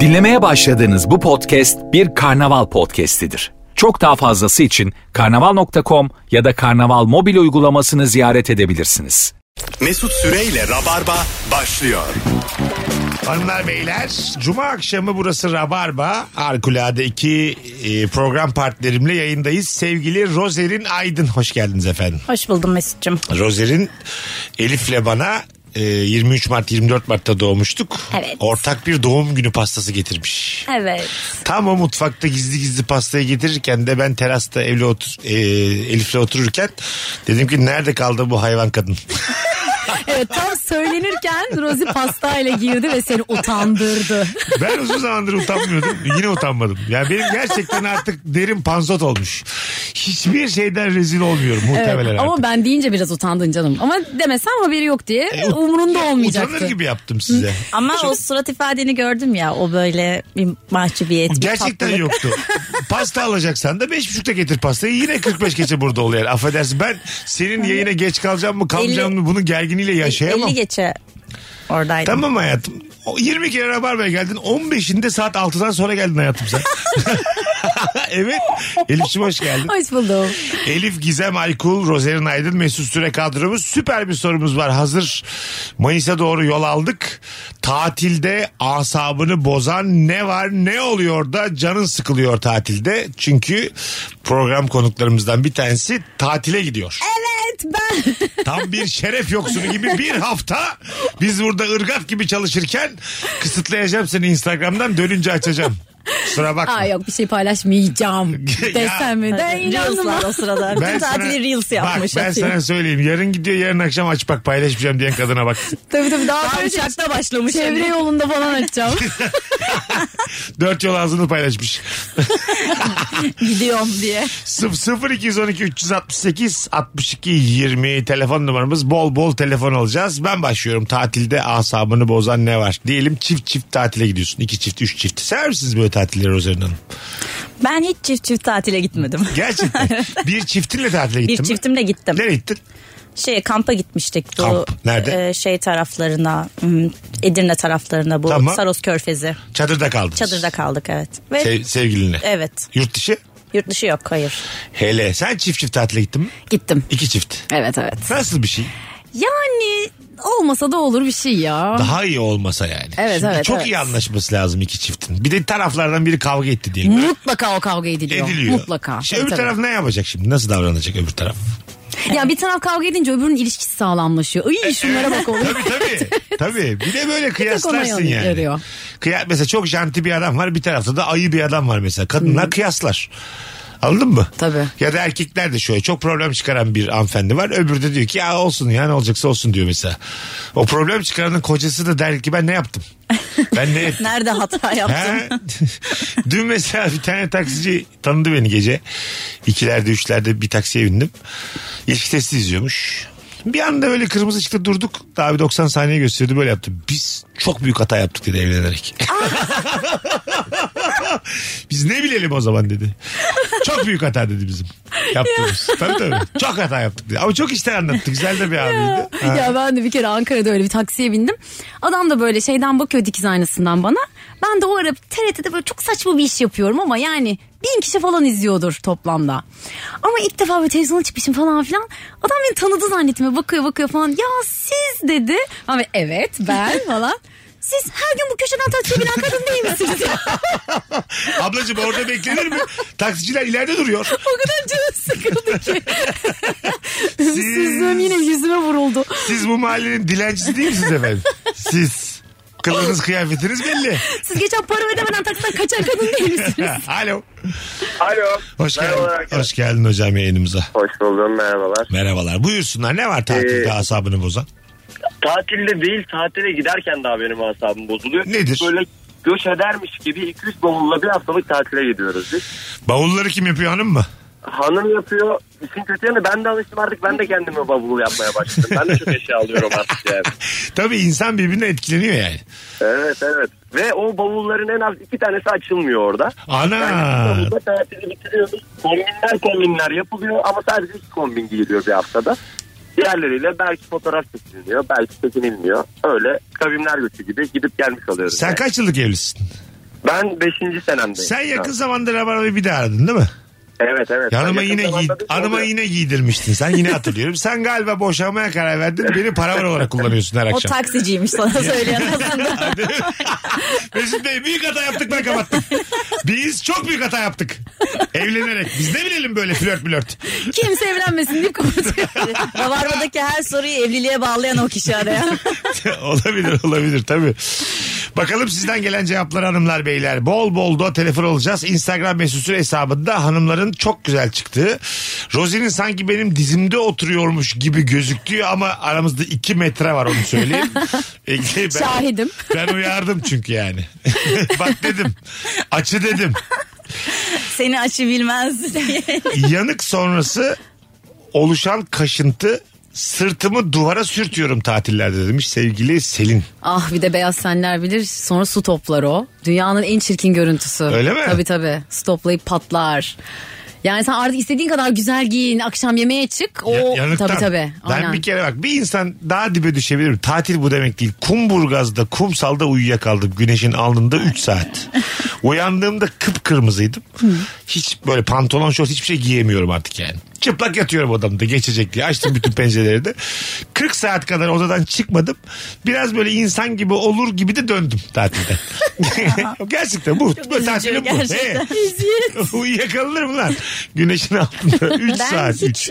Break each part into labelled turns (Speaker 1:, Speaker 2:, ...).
Speaker 1: Dinlemeye başladığınız bu podcast bir karnaval podcastidir. Çok daha fazlası için karnaval.com ya da karnaval mobil uygulamasını ziyaret edebilirsiniz.
Speaker 2: Mesut Süreyle Rabarba başlıyor.
Speaker 3: Hanımlar beyler cuma akşamı burası Rabarba Harikulade iki e, program partnerimle yayındayız. Sevgili Rozer'in Aydın hoş geldiniz efendim.
Speaker 4: Hoş buldum Mesut'cum.
Speaker 3: Rozer'in Elif'le bana e, 23 Mart 24 Mart'ta doğmuştuk.
Speaker 4: Evet.
Speaker 3: Ortak bir doğum günü pastası getirmiş.
Speaker 4: Evet.
Speaker 3: Tam o mutfakta gizli gizli pastayı getirirken de ben terasta evle otur, e, Elif'le otururken dedim ki nerede kaldı bu hayvan kadın?
Speaker 4: Evet tam söylenirken Rosie pastayla girdi ve seni utandırdı.
Speaker 3: Ben uzun zamandır utanmıyordum. Yine utanmadım. Yani benim gerçekten artık derim panzot olmuş. Hiçbir şeyden rezil olmuyorum muhtemelen artık.
Speaker 4: Evet, ama ben deyince biraz utandın canım. Ama demesem haberi yok diye
Speaker 3: E,
Speaker 4: umurunda olmayacaktı.
Speaker 3: Utanır gibi yaptım size.
Speaker 5: Ama o surat ifadeni gördüm ya o böyle bir mahcubiyet. bir
Speaker 3: Gerçekten
Speaker 5: tatlılık.
Speaker 3: yoktu. Pasta alacaksan da beş buçukta getir pastayı. Yine 45 geçe burada ol yani. Affedersin ben senin yayına geç kalacağım mı kalmayacağım mı bunun gerginiyle yaşayamam.
Speaker 5: 50 geçe oradaydım.
Speaker 3: şey Tamam hayatım. O 20 kere Rabarba'ya geldin. 15'inde saat 6'dan sonra geldin hayatım sen. evet. Elif'ciğim hoş geldin.
Speaker 4: Hoş buldum.
Speaker 3: Elif Gizem Aykul, Rozerin Aydın, Mesut Süre kadromuz. Süper bir sorumuz var. Hazır Mayıs'a doğru yol aldık. Tatilde asabını bozan ne var ne oluyor da canın sıkılıyor tatilde. Çünkü program konuklarımızdan bir tanesi tatile gidiyor.
Speaker 4: Evet ben.
Speaker 3: Tam bir şeref yoksunu gibi bir hafta biz burada ırgat gibi çalışırken kısıtlayacağım seni Instagram'dan dönünce açacağım. Kusura bakma.
Speaker 4: Aa yok bir şey paylaşmayacağım.
Speaker 3: Ya.
Speaker 4: Desem mi? Ben
Speaker 5: Reels'lar
Speaker 4: inanmam.
Speaker 5: o sırada. Bütün tatili Reels yapmış.
Speaker 3: Bak ben sana söyleyeyim. Yarın gidiyor yarın akşam aç bak paylaşmayacağım diyen kadına bak.
Speaker 4: Tabii tabii daha, daha
Speaker 5: uçakta başlamış.
Speaker 4: Çevre yolunda falan açacağım.
Speaker 3: Dört yol ağzını paylaşmış.
Speaker 5: Gidiyorum diye.
Speaker 3: 0212 368 62 20 telefon numaramız bol bol telefon alacağız. Ben başlıyorum tatilde asabını bozan ne var? Diyelim çift çift tatile gidiyorsun. İki çift üç çift. Sever misiniz böyle tatilleri Rozerin Hanım?
Speaker 5: Ben hiç çift çift tatile gitmedim.
Speaker 3: Gerçekten. bir çiftinle tatile gittin
Speaker 5: Bir
Speaker 3: mi?
Speaker 5: çiftimle gittim.
Speaker 3: Nereye gittin?
Speaker 5: Şey kampa gitmiştik. Bu,
Speaker 3: Kamp. Nerede?
Speaker 5: e, şey taraflarına, hmm, Edirne taraflarına bu
Speaker 3: Tamam.
Speaker 5: Saros Körfezi.
Speaker 3: Çadırda kaldınız.
Speaker 5: Çadırda kaldık evet. Ve
Speaker 3: Sev- sevgilinle.
Speaker 5: evet.
Speaker 3: Yurt dışı?
Speaker 5: Yurt dışı yok hayır.
Speaker 3: Hele. Sen çift çift tatile gittin mi?
Speaker 4: Gittim.
Speaker 3: İki çift.
Speaker 4: Evet evet.
Speaker 3: Nasıl bir şey?
Speaker 4: Yani olmasa da olur bir şey ya.
Speaker 3: Daha iyi olmasa yani.
Speaker 4: Evet,
Speaker 3: Şimdi
Speaker 4: evet,
Speaker 3: Çok
Speaker 4: evet.
Speaker 3: iyi anlaşması lazım iki çiftin. Bir de taraflardan biri kavga etti diyelim.
Speaker 4: Mutlaka o kavga ediliyor.
Speaker 3: ediliyor.
Speaker 4: Mutlaka.
Speaker 3: Şey,
Speaker 4: Tabii,
Speaker 3: öbür
Speaker 4: tabii.
Speaker 3: taraf ne yapacak şimdi? Nasıl davranacak öbür taraf?
Speaker 4: Ya bir taraf kavga edince öbürünün ilişkisi sağlamlaşıyor. Ay şunlara bak oğlum.
Speaker 3: Tabii tabii. tabii. Bir de böyle
Speaker 4: ona
Speaker 3: kıyaslarsın yani.
Speaker 4: yarıyor.
Speaker 3: Kıya- mesela çok janti bir adam var bir tarafta da ayı bir adam var mesela. Kadınlar kıyaslar. Anladın mı?
Speaker 4: Tabii.
Speaker 3: Ya da erkekler de şöyle çok problem çıkaran bir hanımefendi var. Öbürü de diyor ki ya olsun ya ne olacaksa olsun diyor mesela. O problem çıkaranın kocası da der ki ben ne yaptım? Ben ne ettim?
Speaker 5: Nerede hata yaptın?
Speaker 3: He? Dün mesela bir tane taksici tanıdı beni gece. İkilerde üçlerde bir taksiye bindim. İlişki testi izliyormuş. Bir anda böyle kırmızı çıktı durduk. Daha bir 90 saniye gösterdi böyle yaptı. Biz çok büyük hata yaptık dedi evlenerek. Biz ne bilelim o zaman dedi. Çok büyük hata dedi bizim. Yaptığımız. tabii tabii. Çok hata yaptık dedi. Ama çok işten anlattı. Güzel de bir abiydi. Ha.
Speaker 4: Ya ben de bir kere Ankara'da öyle bir taksiye bindim. Adam da böyle şeyden bakıyor dikiz aynasından bana. Ben de o ara TRT'de böyle çok saçma bir iş yapıyorum ama yani bin kişi falan izliyordur toplamda. Ama ilk defa böyle televizyona çıkmışım falan filan. Adam beni tanıdı zannettim. Böyle Bakıyor bakıyor falan. Ya siz dedi. Ama evet ben falan. Siz her gün bu köşeden taksiye binen kadın değil misiniz?
Speaker 3: Ablacığım orada beklenir mi? Taksiciler ileride duruyor.
Speaker 4: o kadar canım sıkıldı ki.
Speaker 3: Siz-
Speaker 4: Sözüm yine yüzüme vuruldu.
Speaker 3: Siz bu mahallenin dilencisi değil misiniz efendim? Siz. Kılınız kıyafetiniz belli.
Speaker 4: Siz geçen para ödemeden taksiden kaçan kadın değil misiniz?
Speaker 3: Ha, Alo.
Speaker 6: Alo.
Speaker 3: Hoş geldin.
Speaker 6: Merhabalar arkadaşlar.
Speaker 3: Hoş geldin hocam yayınımıza.
Speaker 6: Hoş buldum merhabalar.
Speaker 3: Merhabalar. Buyursunlar. Ne var tatilde
Speaker 6: Ee,
Speaker 3: asabını bozan?
Speaker 6: Tatilde değil tatile giderken daha benim asabım bozuluyor.
Speaker 3: Nedir?
Speaker 6: Böyle göç edermiş gibi 2-3 bavulla bir haftalık tatile gidiyoruz biz.
Speaker 3: Bavulları kim yapıyor hanım mı?
Speaker 6: Hanım yapıyor. İşin kötü yanı ben de alıştım artık ben de kendime bavul yapmaya başladım. Ben de çok eşya alıyorum artık yani.
Speaker 3: Tabii insan birbirine etkileniyor yani.
Speaker 6: Evet evet. Ve o bavulların en az iki tanesi açılmıyor orada.
Speaker 3: Ana.
Speaker 6: Yani burada tatili bitiriyoruz. Kombinler kombinler yapılıyor ama sadece iki kombin giyiliyor bir haftada. Diğerleriyle belki fotoğraf çekilmiyor, belki çekinilmiyor. Öyle kavimler göçü gibi gidip gelmiş oluyoruz.
Speaker 3: Sen
Speaker 6: yani.
Speaker 3: kaç yıllık evlisin?
Speaker 6: Ben 5. senemdeyim.
Speaker 3: Sen yakın zamanda Rabarba'yı bir daha aradın değil mi?
Speaker 6: Evet evet.
Speaker 3: Yanıma
Speaker 6: Ben yakın
Speaker 3: yine giy
Speaker 6: zamanda bir
Speaker 3: anıma
Speaker 6: oluyor.
Speaker 3: yine giydirmiştin. Sen yine hatırlıyorum. Sen galiba boşanmaya karar verdin. Beni paravan olarak kullanıyorsun her
Speaker 5: O
Speaker 3: akşam.
Speaker 5: taksiciymiş sana söyleyen aslında.
Speaker 3: Mesut Bey büyük hata yaptık ben kapattım. Biz çok büyük hata yaptık. Evlenerek. Biz ne bilelim böyle flört flört.
Speaker 4: Kimse evlenmesin deyip kapatıyor.
Speaker 5: Rabarba'daki her soruyu evliliğe bağlayan o kişi arayan.
Speaker 3: olabilir olabilir tabii. Bakalım sizden gelen cevaplar hanımlar beyler. Bol bol da telefon alacağız. Instagram mesut süre hesabında hanımların çok güzel çıktığı. Rozi'nin sanki benim dizimde oturuyormuş gibi gözüktüğü ama aramızda iki metre var onu söyleyeyim. Ee, ben-
Speaker 4: Şahidim.
Speaker 3: Ben uyardım çünkü yani. Bak dedim. Açı dedim.
Speaker 5: Seni açı bilmez diye.
Speaker 3: Yanık sonrası oluşan kaşıntı sırtımı duvara sürtüyorum tatillerde demiş sevgili Selin.
Speaker 4: ah bir de beyaz senler bilir sonra su toplar o. Dünyanın en çirkin görüntüsü.
Speaker 3: Öyle mi?
Speaker 4: Tabii tabii. Su toplayıp patlar. Yani sen artık istediğin kadar güzel giyin, akşam yemeğe çık. O
Speaker 3: Ya- yanıktan.
Speaker 4: tabii tabii.
Speaker 3: Ben
Speaker 4: Aynen.
Speaker 3: bir kere bak bir insan daha dibe düşebilir. mi? Tatil bu demek değil. Kumburgaz'da kumsalda uyuyakaldım. Güneşin alnında 3 saat. Uyandığımda kıpkırmızıydım. Hiç böyle pantolon şort hiçbir şey giyemiyorum artık yani. Çıplak yatıyorum odamda geçecek diye. Açtım bütün pencereleri de. 40 saat kadar odadan çıkmadım. Biraz böyle insan gibi olur gibi de döndüm tatilden. gerçekten bu. bu
Speaker 5: üzücü,
Speaker 3: tatilim bu.
Speaker 5: gerçekten.
Speaker 3: He. Uyuyakalır mı lan? Güneşin altında 3
Speaker 5: Ben
Speaker 3: saat. üç.
Speaker 5: hiç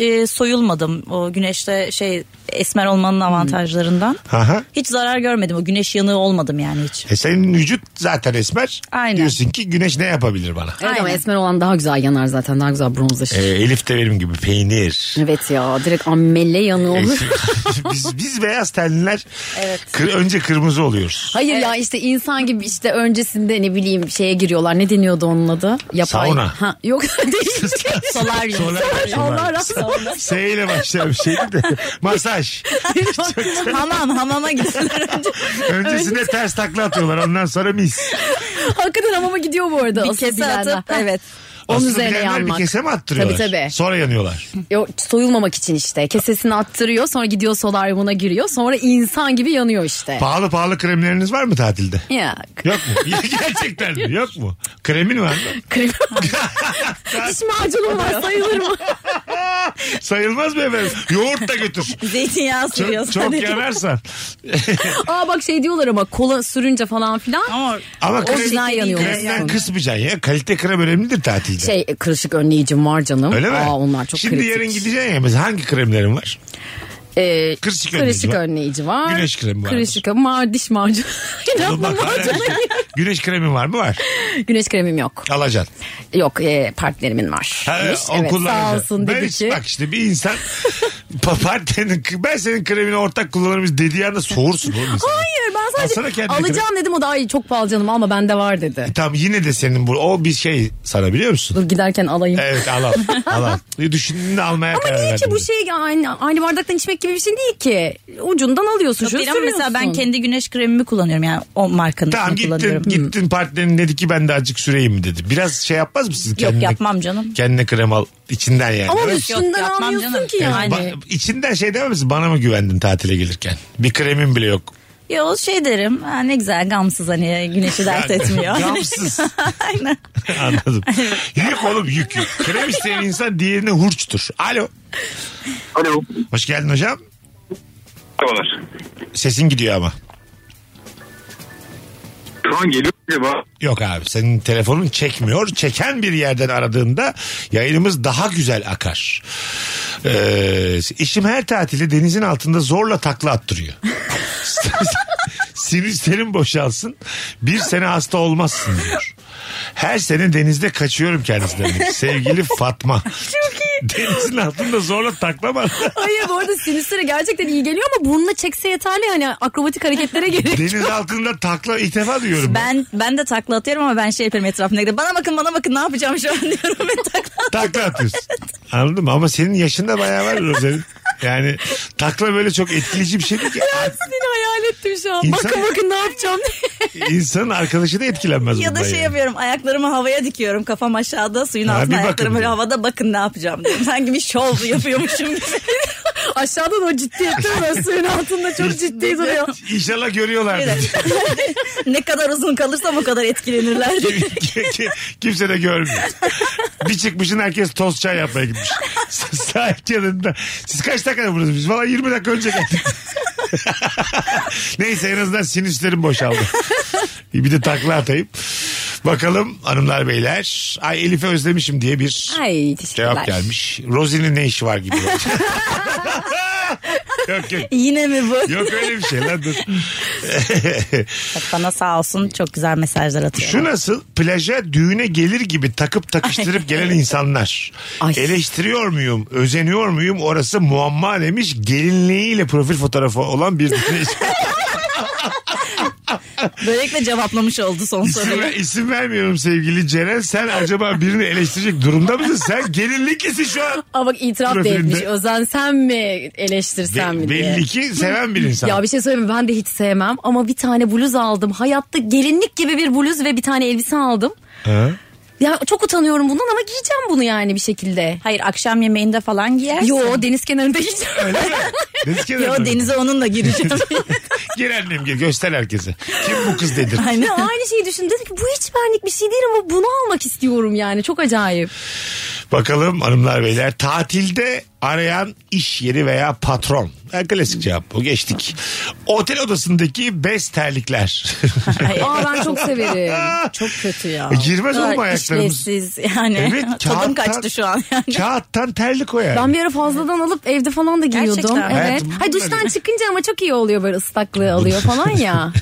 Speaker 5: e, soyulmadım o güneşte şey esmer olmanın avantajlarından.
Speaker 3: Aha.
Speaker 5: Hiç zarar görmedim o güneş yanığı olmadım yani hiç.
Speaker 3: E senin vücut zaten esmer.
Speaker 5: Aynen.
Speaker 3: Diyorsun ki güneş ne yapabilir bana?
Speaker 4: Evet ama
Speaker 5: Aynen.
Speaker 4: esmer olan daha güzel yanar zaten. Daha güzel bronzlaşır.
Speaker 3: E, Elif de benim gibi peynir.
Speaker 4: Evet ya direkt ammelle yanı olur.
Speaker 3: biz, biz beyaz tenliler kır- önce kırmızı oluyoruz.
Speaker 4: Hayır ya işte insan gibi işte öncesinde ne bileyim şeye giriyorlar. Ne deniyordu onun adı? Yapay.
Speaker 3: Sauna.
Speaker 4: Ha, yok değil.
Speaker 5: Solaryum.
Speaker 4: Allah razı olsun.
Speaker 3: S ile başlayan bir şeydi de. Masaj.
Speaker 5: Hamam hamama gitsinler önce.
Speaker 3: Öncesinde ters takla atıyorlar ondan sonra mis.
Speaker 4: Hakikaten hamama gidiyor bu arada.
Speaker 5: Bir
Speaker 4: asıl
Speaker 5: kese
Speaker 4: bilenler.
Speaker 5: atıp evet.
Speaker 4: Onun
Speaker 3: Aslında
Speaker 4: üzerine
Speaker 3: bilenler
Speaker 4: yanmak.
Speaker 3: Bir kese mi attırıyorlar?
Speaker 4: Tabii, tabii.
Speaker 3: Sonra yanıyorlar.
Speaker 4: Yo, soyulmamak için işte. Kesesini attırıyor sonra gidiyor solaryumuna giriyor. Sonra insan gibi yanıyor işte.
Speaker 3: Pahalı pahalı kremleriniz var mı tatilde?
Speaker 4: ya
Speaker 3: Yok mu? Gerçekten mi? Yok mu? Kremin var mı?
Speaker 4: krem. Diş macunum var sayılır mı?
Speaker 3: Sayılmaz mı efendim? Yoğurt da götür.
Speaker 5: Zeytinyağı sürüyor
Speaker 3: Çok, çok
Speaker 5: sadece.
Speaker 3: yanarsan.
Speaker 4: Aa bak şey diyorlar ama kola sürünce falan filan.
Speaker 5: Ama
Speaker 3: Ama
Speaker 4: O yüzden yanıyor.
Speaker 3: Kremden kısmayacaksın ya. Kalite krem önemlidir tatilde.
Speaker 4: Şey e, kırışık önleyicim var canım.
Speaker 3: Öyle mi?
Speaker 4: Aa, onlar çok
Speaker 3: Şimdi
Speaker 4: kritik.
Speaker 3: yarın gideceksin ya mesela hangi kremlerin var?
Speaker 4: Ee,
Speaker 3: Kırışık önleyici
Speaker 4: kırışık
Speaker 3: var.
Speaker 4: önleyici var.
Speaker 3: Güneş kremi var.
Speaker 4: Kırışık ama diş macunu.
Speaker 3: Oğlum
Speaker 4: İnanma
Speaker 3: bak, hala-
Speaker 4: macunu.
Speaker 3: Güneş kremi var mı? Var.
Speaker 4: Güneş kremim yok.
Speaker 3: Alacaksın.
Speaker 4: Yok e, partnerimin var.
Speaker 3: Ha,
Speaker 4: Demiş.
Speaker 3: o
Speaker 4: evet, sağ
Speaker 3: kullanacak.
Speaker 4: olsun
Speaker 3: ben
Speaker 4: dedi
Speaker 3: hiç-
Speaker 4: ki.
Speaker 3: Bak işte bir insan partnerin ben senin kremini ortak kullanırım dediği anda soğursun oğlum insan.
Speaker 4: Hayır ben
Speaker 3: Alsana
Speaker 4: sadece
Speaker 3: kendine
Speaker 4: alacağım dedim o da ay çok pahalı canım ama bende var dedi.
Speaker 3: Tamam yine de senin bu o bir şey sana biliyor musun?
Speaker 4: Dur giderken alayım.
Speaker 3: Evet al al. al, al. Düşündüğünde almaya
Speaker 4: Ama
Speaker 3: karar
Speaker 4: niye
Speaker 3: verdim.
Speaker 4: ki bu şey aynı, aynı bardaktan içmek gibi bir şey değil ki. Ucundan alıyorsun şunu
Speaker 5: Benim mesela
Speaker 4: sürüyorsun.
Speaker 5: ben kendi güneş kremimi kullanıyorum yani o markanın
Speaker 3: Tamam gittin,
Speaker 5: kullanıyorum.
Speaker 3: gittin partnerin dedi ki ben de azıcık süreyim mi dedi. Biraz şey yapmaz mısın?
Speaker 5: Yok yapmam canım.
Speaker 3: Kendine krem al içinden yani.
Speaker 4: ama
Speaker 3: Öyle mi?
Speaker 4: üstünden
Speaker 5: yapmam
Speaker 4: almıyorsun
Speaker 5: canım.
Speaker 4: ki yani.
Speaker 3: Ba- içinden şey demez misin? Bana mı güvendin tatile gelirken? Bir kremin bile yok.
Speaker 5: Yo şey derim ha, ne güzel gamsız hani güneşi dert etmiyor.
Speaker 3: Gamsız.
Speaker 5: Aynen.
Speaker 3: Anladım. yük oğlum yük yük. Krem isteyen insan diğerine hurçtur. Alo.
Speaker 7: Alo.
Speaker 3: Hoş geldin hocam.
Speaker 7: Merhabalar.
Speaker 3: Sesin gidiyor ama.
Speaker 7: Şu an geliyor mu acaba?
Speaker 3: Yok abi senin telefonun çekmiyor. Çeken bir yerden aradığında yayınımız daha güzel akar. Ee, işim her tatili denizin altında zorla takla attırıyor. Sinüslerin boşalsın. Bir sene hasta olmazsın diyor. Her sene denizde kaçıyorum kendisinden. demiş. Sevgili Fatma. Çok iyi. Denizin altında zorla takla mı attı?
Speaker 4: Hayır bu arada sinüslere gerçekten iyi geliyor ama burnuna çekse yeterli hani akrobatik hareketlere gerek.
Speaker 3: Deniz altında takla ilk defa duyuyorum. Ben...
Speaker 5: Ben ben de takla atıyorum ama ben şey yapıyorum etrafına gidiyorum. Bana bakın bana bakın ne yapacağım şu an diyorum ve takla.
Speaker 3: Takla atıyorsun. Anladın mı? Ama senin yaşında bayağı var Rozerin. Yani takla böyle çok etkileyici bir şey değil ki.
Speaker 4: Seni hayal ettim şu an.
Speaker 3: İnsan-
Speaker 4: Bakın bakın ne yapacağım diye.
Speaker 3: İnsanın arkadaşı da etkilenmez
Speaker 5: Ya da
Speaker 3: bundan
Speaker 5: şey
Speaker 3: yani.
Speaker 5: yapıyorum ayaklarımı havaya dikiyorum kafam aşağıda suyun
Speaker 3: Ha, bir
Speaker 5: altında
Speaker 3: bakın
Speaker 5: ayaklarım böyle
Speaker 3: diyor.
Speaker 5: havada bakın ne yapacağım diyorum. Sanki bir şov yapıyormuşum gibi.
Speaker 4: Aşağıdan o ciddiyette var. Suyun altında çok ciddi duruyor.
Speaker 3: İnşallah görüyorlardır.
Speaker 5: ne kadar uzun kalırsa o kadar etkilenirler.
Speaker 3: Kimse de görmüyor. Bir çıkmışın herkes toz çay yapmaya gitmiş. Sahil kenarında. Siz kaç dakikada buradasınız? Biz Valla 20 dakika önce geldik. Neyse en azından sinüslerim boşaldı. Bir de takla atayım. Bakalım hanımlar beyler. Ay Elif'e özlemişim diye bir
Speaker 4: Ay
Speaker 3: cevap
Speaker 4: teşekkürler.
Speaker 3: gelmiş. Rosie'nin ne işi var gibi. yok yok.
Speaker 5: Yine mi bu?
Speaker 3: Yok öyle bir şey lan dur.
Speaker 5: Bana sağ olsun çok güzel mesajlar atıyor.
Speaker 3: Şu nasıl plaja düğüne gelir gibi takıp takıştırıp gelen insanlar.
Speaker 4: Ay.
Speaker 3: Eleştiriyor muyum, özeniyor muyum orası muamma demiş. Gelinliğiyle profil fotoğrafı olan bir dinleyici.
Speaker 5: Böylelikle cevaplamış oldu son
Speaker 3: isim,
Speaker 5: soruyu.
Speaker 3: ver- isim vermiyorum sevgili Ceren. Sen acaba birini eleştirecek durumda mısın? Sen gelinlik isin şu an.
Speaker 4: Ama bak itiraf da
Speaker 3: Profilinde-
Speaker 4: etmiş. Özen sen mi
Speaker 3: Be-
Speaker 4: eleştirsen mi diye.
Speaker 3: belli ki seven bir insan.
Speaker 4: Ya bir şey söyleyeyim mi? ben de hiç sevmem ama bir tane bluz aldım. Hayatta gelinlik gibi bir bluz ve bir tane elbise aldım.
Speaker 3: Ha?
Speaker 4: Ya çok utanıyorum bundan ama giyeceğim bunu yani bir şekilde.
Speaker 5: Hayır akşam yemeğinde falan giyersin.
Speaker 4: Yo deniz kenarında giyeceğim.
Speaker 3: Öyle mi? Deniz kenarında
Speaker 5: Yo
Speaker 3: mı?
Speaker 5: denize onunla gireceğim.
Speaker 3: Gel annem gel göster herkese. Kim bu kız dedir.
Speaker 4: Ya aynı şeyi düşündüm. Dedim ki bu hiç benlik bir şey değil ama bunu almak istiyorum yani. Çok acayip.
Speaker 3: Bakalım hanımlar beyler tatilde arayan iş yeri veya patron. Ha, klasik cevap bu geçtik. Otel odasındaki bez terlikler.
Speaker 4: Aa ben çok severim. Çok kötü ya.
Speaker 3: E, Girmez oğlum ayaklarımız.
Speaker 5: İşlevsiz yani. Tadım kaçtı şu an yani.
Speaker 3: Kağıttan terlik o yani.
Speaker 4: Ben bir ara fazladan alıp evde falan da giyiyordum.
Speaker 5: Gerçekten.
Speaker 4: Evet.
Speaker 3: Hayatım,
Speaker 4: Hay duştan çıkınca ama çok iyi oluyor böyle ıslaklığı alıyor falan ya.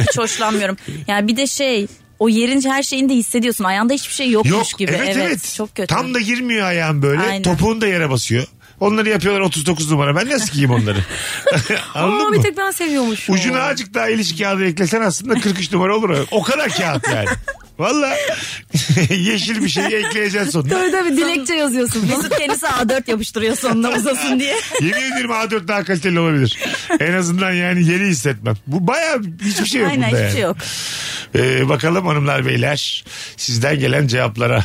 Speaker 5: Hiç hoşlanmıyorum. Yani bir de şey o yerin her şeyini de hissediyorsun. Ayağında hiçbir şey yokmuş
Speaker 3: Yok
Speaker 5: gibi.
Speaker 3: evet evet.
Speaker 5: Çok kötü.
Speaker 3: Tam da girmiyor ayağın böyle.
Speaker 5: Aynen.
Speaker 3: Topuğun da yere basıyor. Onları yapıyorlar 39 numara. Ben nasıl giyeyim onları? Anladın
Speaker 4: Ama
Speaker 3: mı?
Speaker 4: bir tek ben seviyormuşum.
Speaker 3: Ucuna azıcık daha ilişki kağıdı eklesen aslında 43 numara olur. o. O kadar kağıt yani. Valla yeşil bir şey ekleyeceksin sonuna.
Speaker 4: Tabii tabii dilekçe yazıyorsun.
Speaker 5: Mesut kendisi A4 yapıştırıyor sonuna uzasın diye.
Speaker 3: Yemin ediyorum A4 daha kaliteli olabilir. En azından yani yeri hissetmem. Bu baya hiçbir şey yok
Speaker 5: Aynen
Speaker 3: bunda
Speaker 5: hiçbir
Speaker 3: yani.
Speaker 5: şey yok.
Speaker 3: Ee, bakalım hanımlar beyler sizden gelen cevaplara.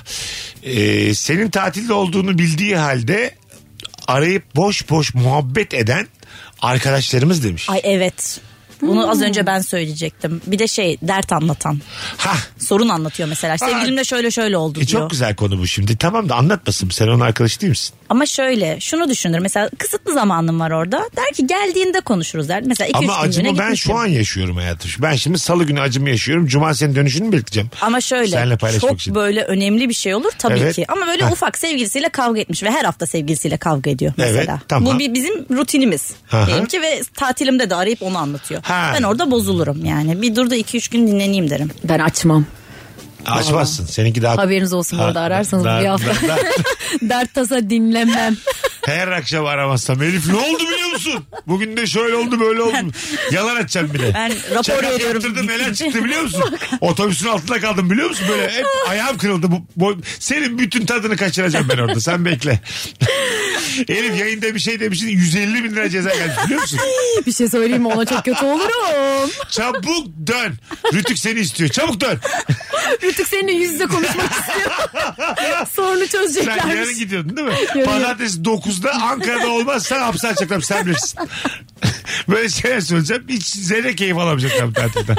Speaker 3: Ee, senin tatilde olduğunu bildiği halde arayıp boş boş muhabbet eden arkadaşlarımız demiş.
Speaker 5: Ay evet. Bunu az önce ben söyleyecektim. Bir de şey dert anlatan.
Speaker 3: Ha
Speaker 5: Sorun anlatıyor mesela. Sevgilimle şöyle şöyle oldu
Speaker 3: e,
Speaker 5: diyor.
Speaker 3: çok güzel konu bu şimdi. Tamam da anlatmasın sen onun arkadaşı değil misin?
Speaker 5: Ama şöyle şunu düşünür. Mesela kısıtlı zamanım var orada. Der ki geldiğinde konuşuruz der. Mesela 2-3 gün
Speaker 3: Ama acımı ben şu an yaşıyorum hayatım. Ben şimdi salı günü acımı yaşıyorum. Cuma senin dönüşünü mü bekleyeceğim.
Speaker 5: Ama şöyle
Speaker 3: Seninle paylaşmak
Speaker 5: çok
Speaker 3: için.
Speaker 5: böyle önemli bir şey olur tabii
Speaker 3: Evet.
Speaker 5: ki. Ama böyle
Speaker 3: Ha.
Speaker 5: ufak sevgilisiyle kavga etmiş ve her hafta sevgilisiyle kavga ediyor
Speaker 3: Evet,
Speaker 5: mesela.
Speaker 3: tamam.
Speaker 5: Bu bir bizim rutinimiz.
Speaker 3: Aha.
Speaker 5: Diyelim ki ve tatilimde de arayıp onu anlatıyor.
Speaker 3: Ha.
Speaker 5: Ben orada bozulurum yani. Bir dur da 2-3 gün dinleneyim derim.
Speaker 4: Ben açmam.
Speaker 3: Açmazsın. Seninki daha...
Speaker 4: Haberiniz olsun
Speaker 3: Ha,
Speaker 4: orada ararsanız
Speaker 3: daha-
Speaker 4: bir hafta.
Speaker 3: daha-
Speaker 4: Dert tasa dinlemem.
Speaker 3: Her akşam aramazsam Elif ne oldu biliyor musun? Bugün de şöyle oldu böyle oldu. Yalan açacağım bile.
Speaker 5: Ben rapor
Speaker 3: Şaka
Speaker 5: veriyorum.
Speaker 3: yaptırdım, neler çıktı biliyor musun? Otobüsün altında kaldım biliyor musun? Böyle hep ayağım kırıldı. Bu, bu- senin bütün tadını kaçıracağım ben orada. Sen bekle. Elif yayında bir şey demişsin 150 bin lira ceza gelmiş biliyor musun?
Speaker 4: bir şey söyleyeyim mi ona çok kötü olurum.
Speaker 3: Çabuk dön. Rütük seni istiyor. Çabuk dön.
Speaker 4: Rütük seninle yüz yüze konuşmak istiyor. Sorunu
Speaker 3: Sen yarın
Speaker 4: çözeceklermiş.
Speaker 3: gidiyordun değil mi?
Speaker 4: Yarın.
Speaker 3: Pazartesi 9'da Ankara'da olmaz sen hapse açacaklar sen bilirsin. Böyle şeyler söyleyeceğim. Hiç zerre keyif alamayacaklar bu tatilden.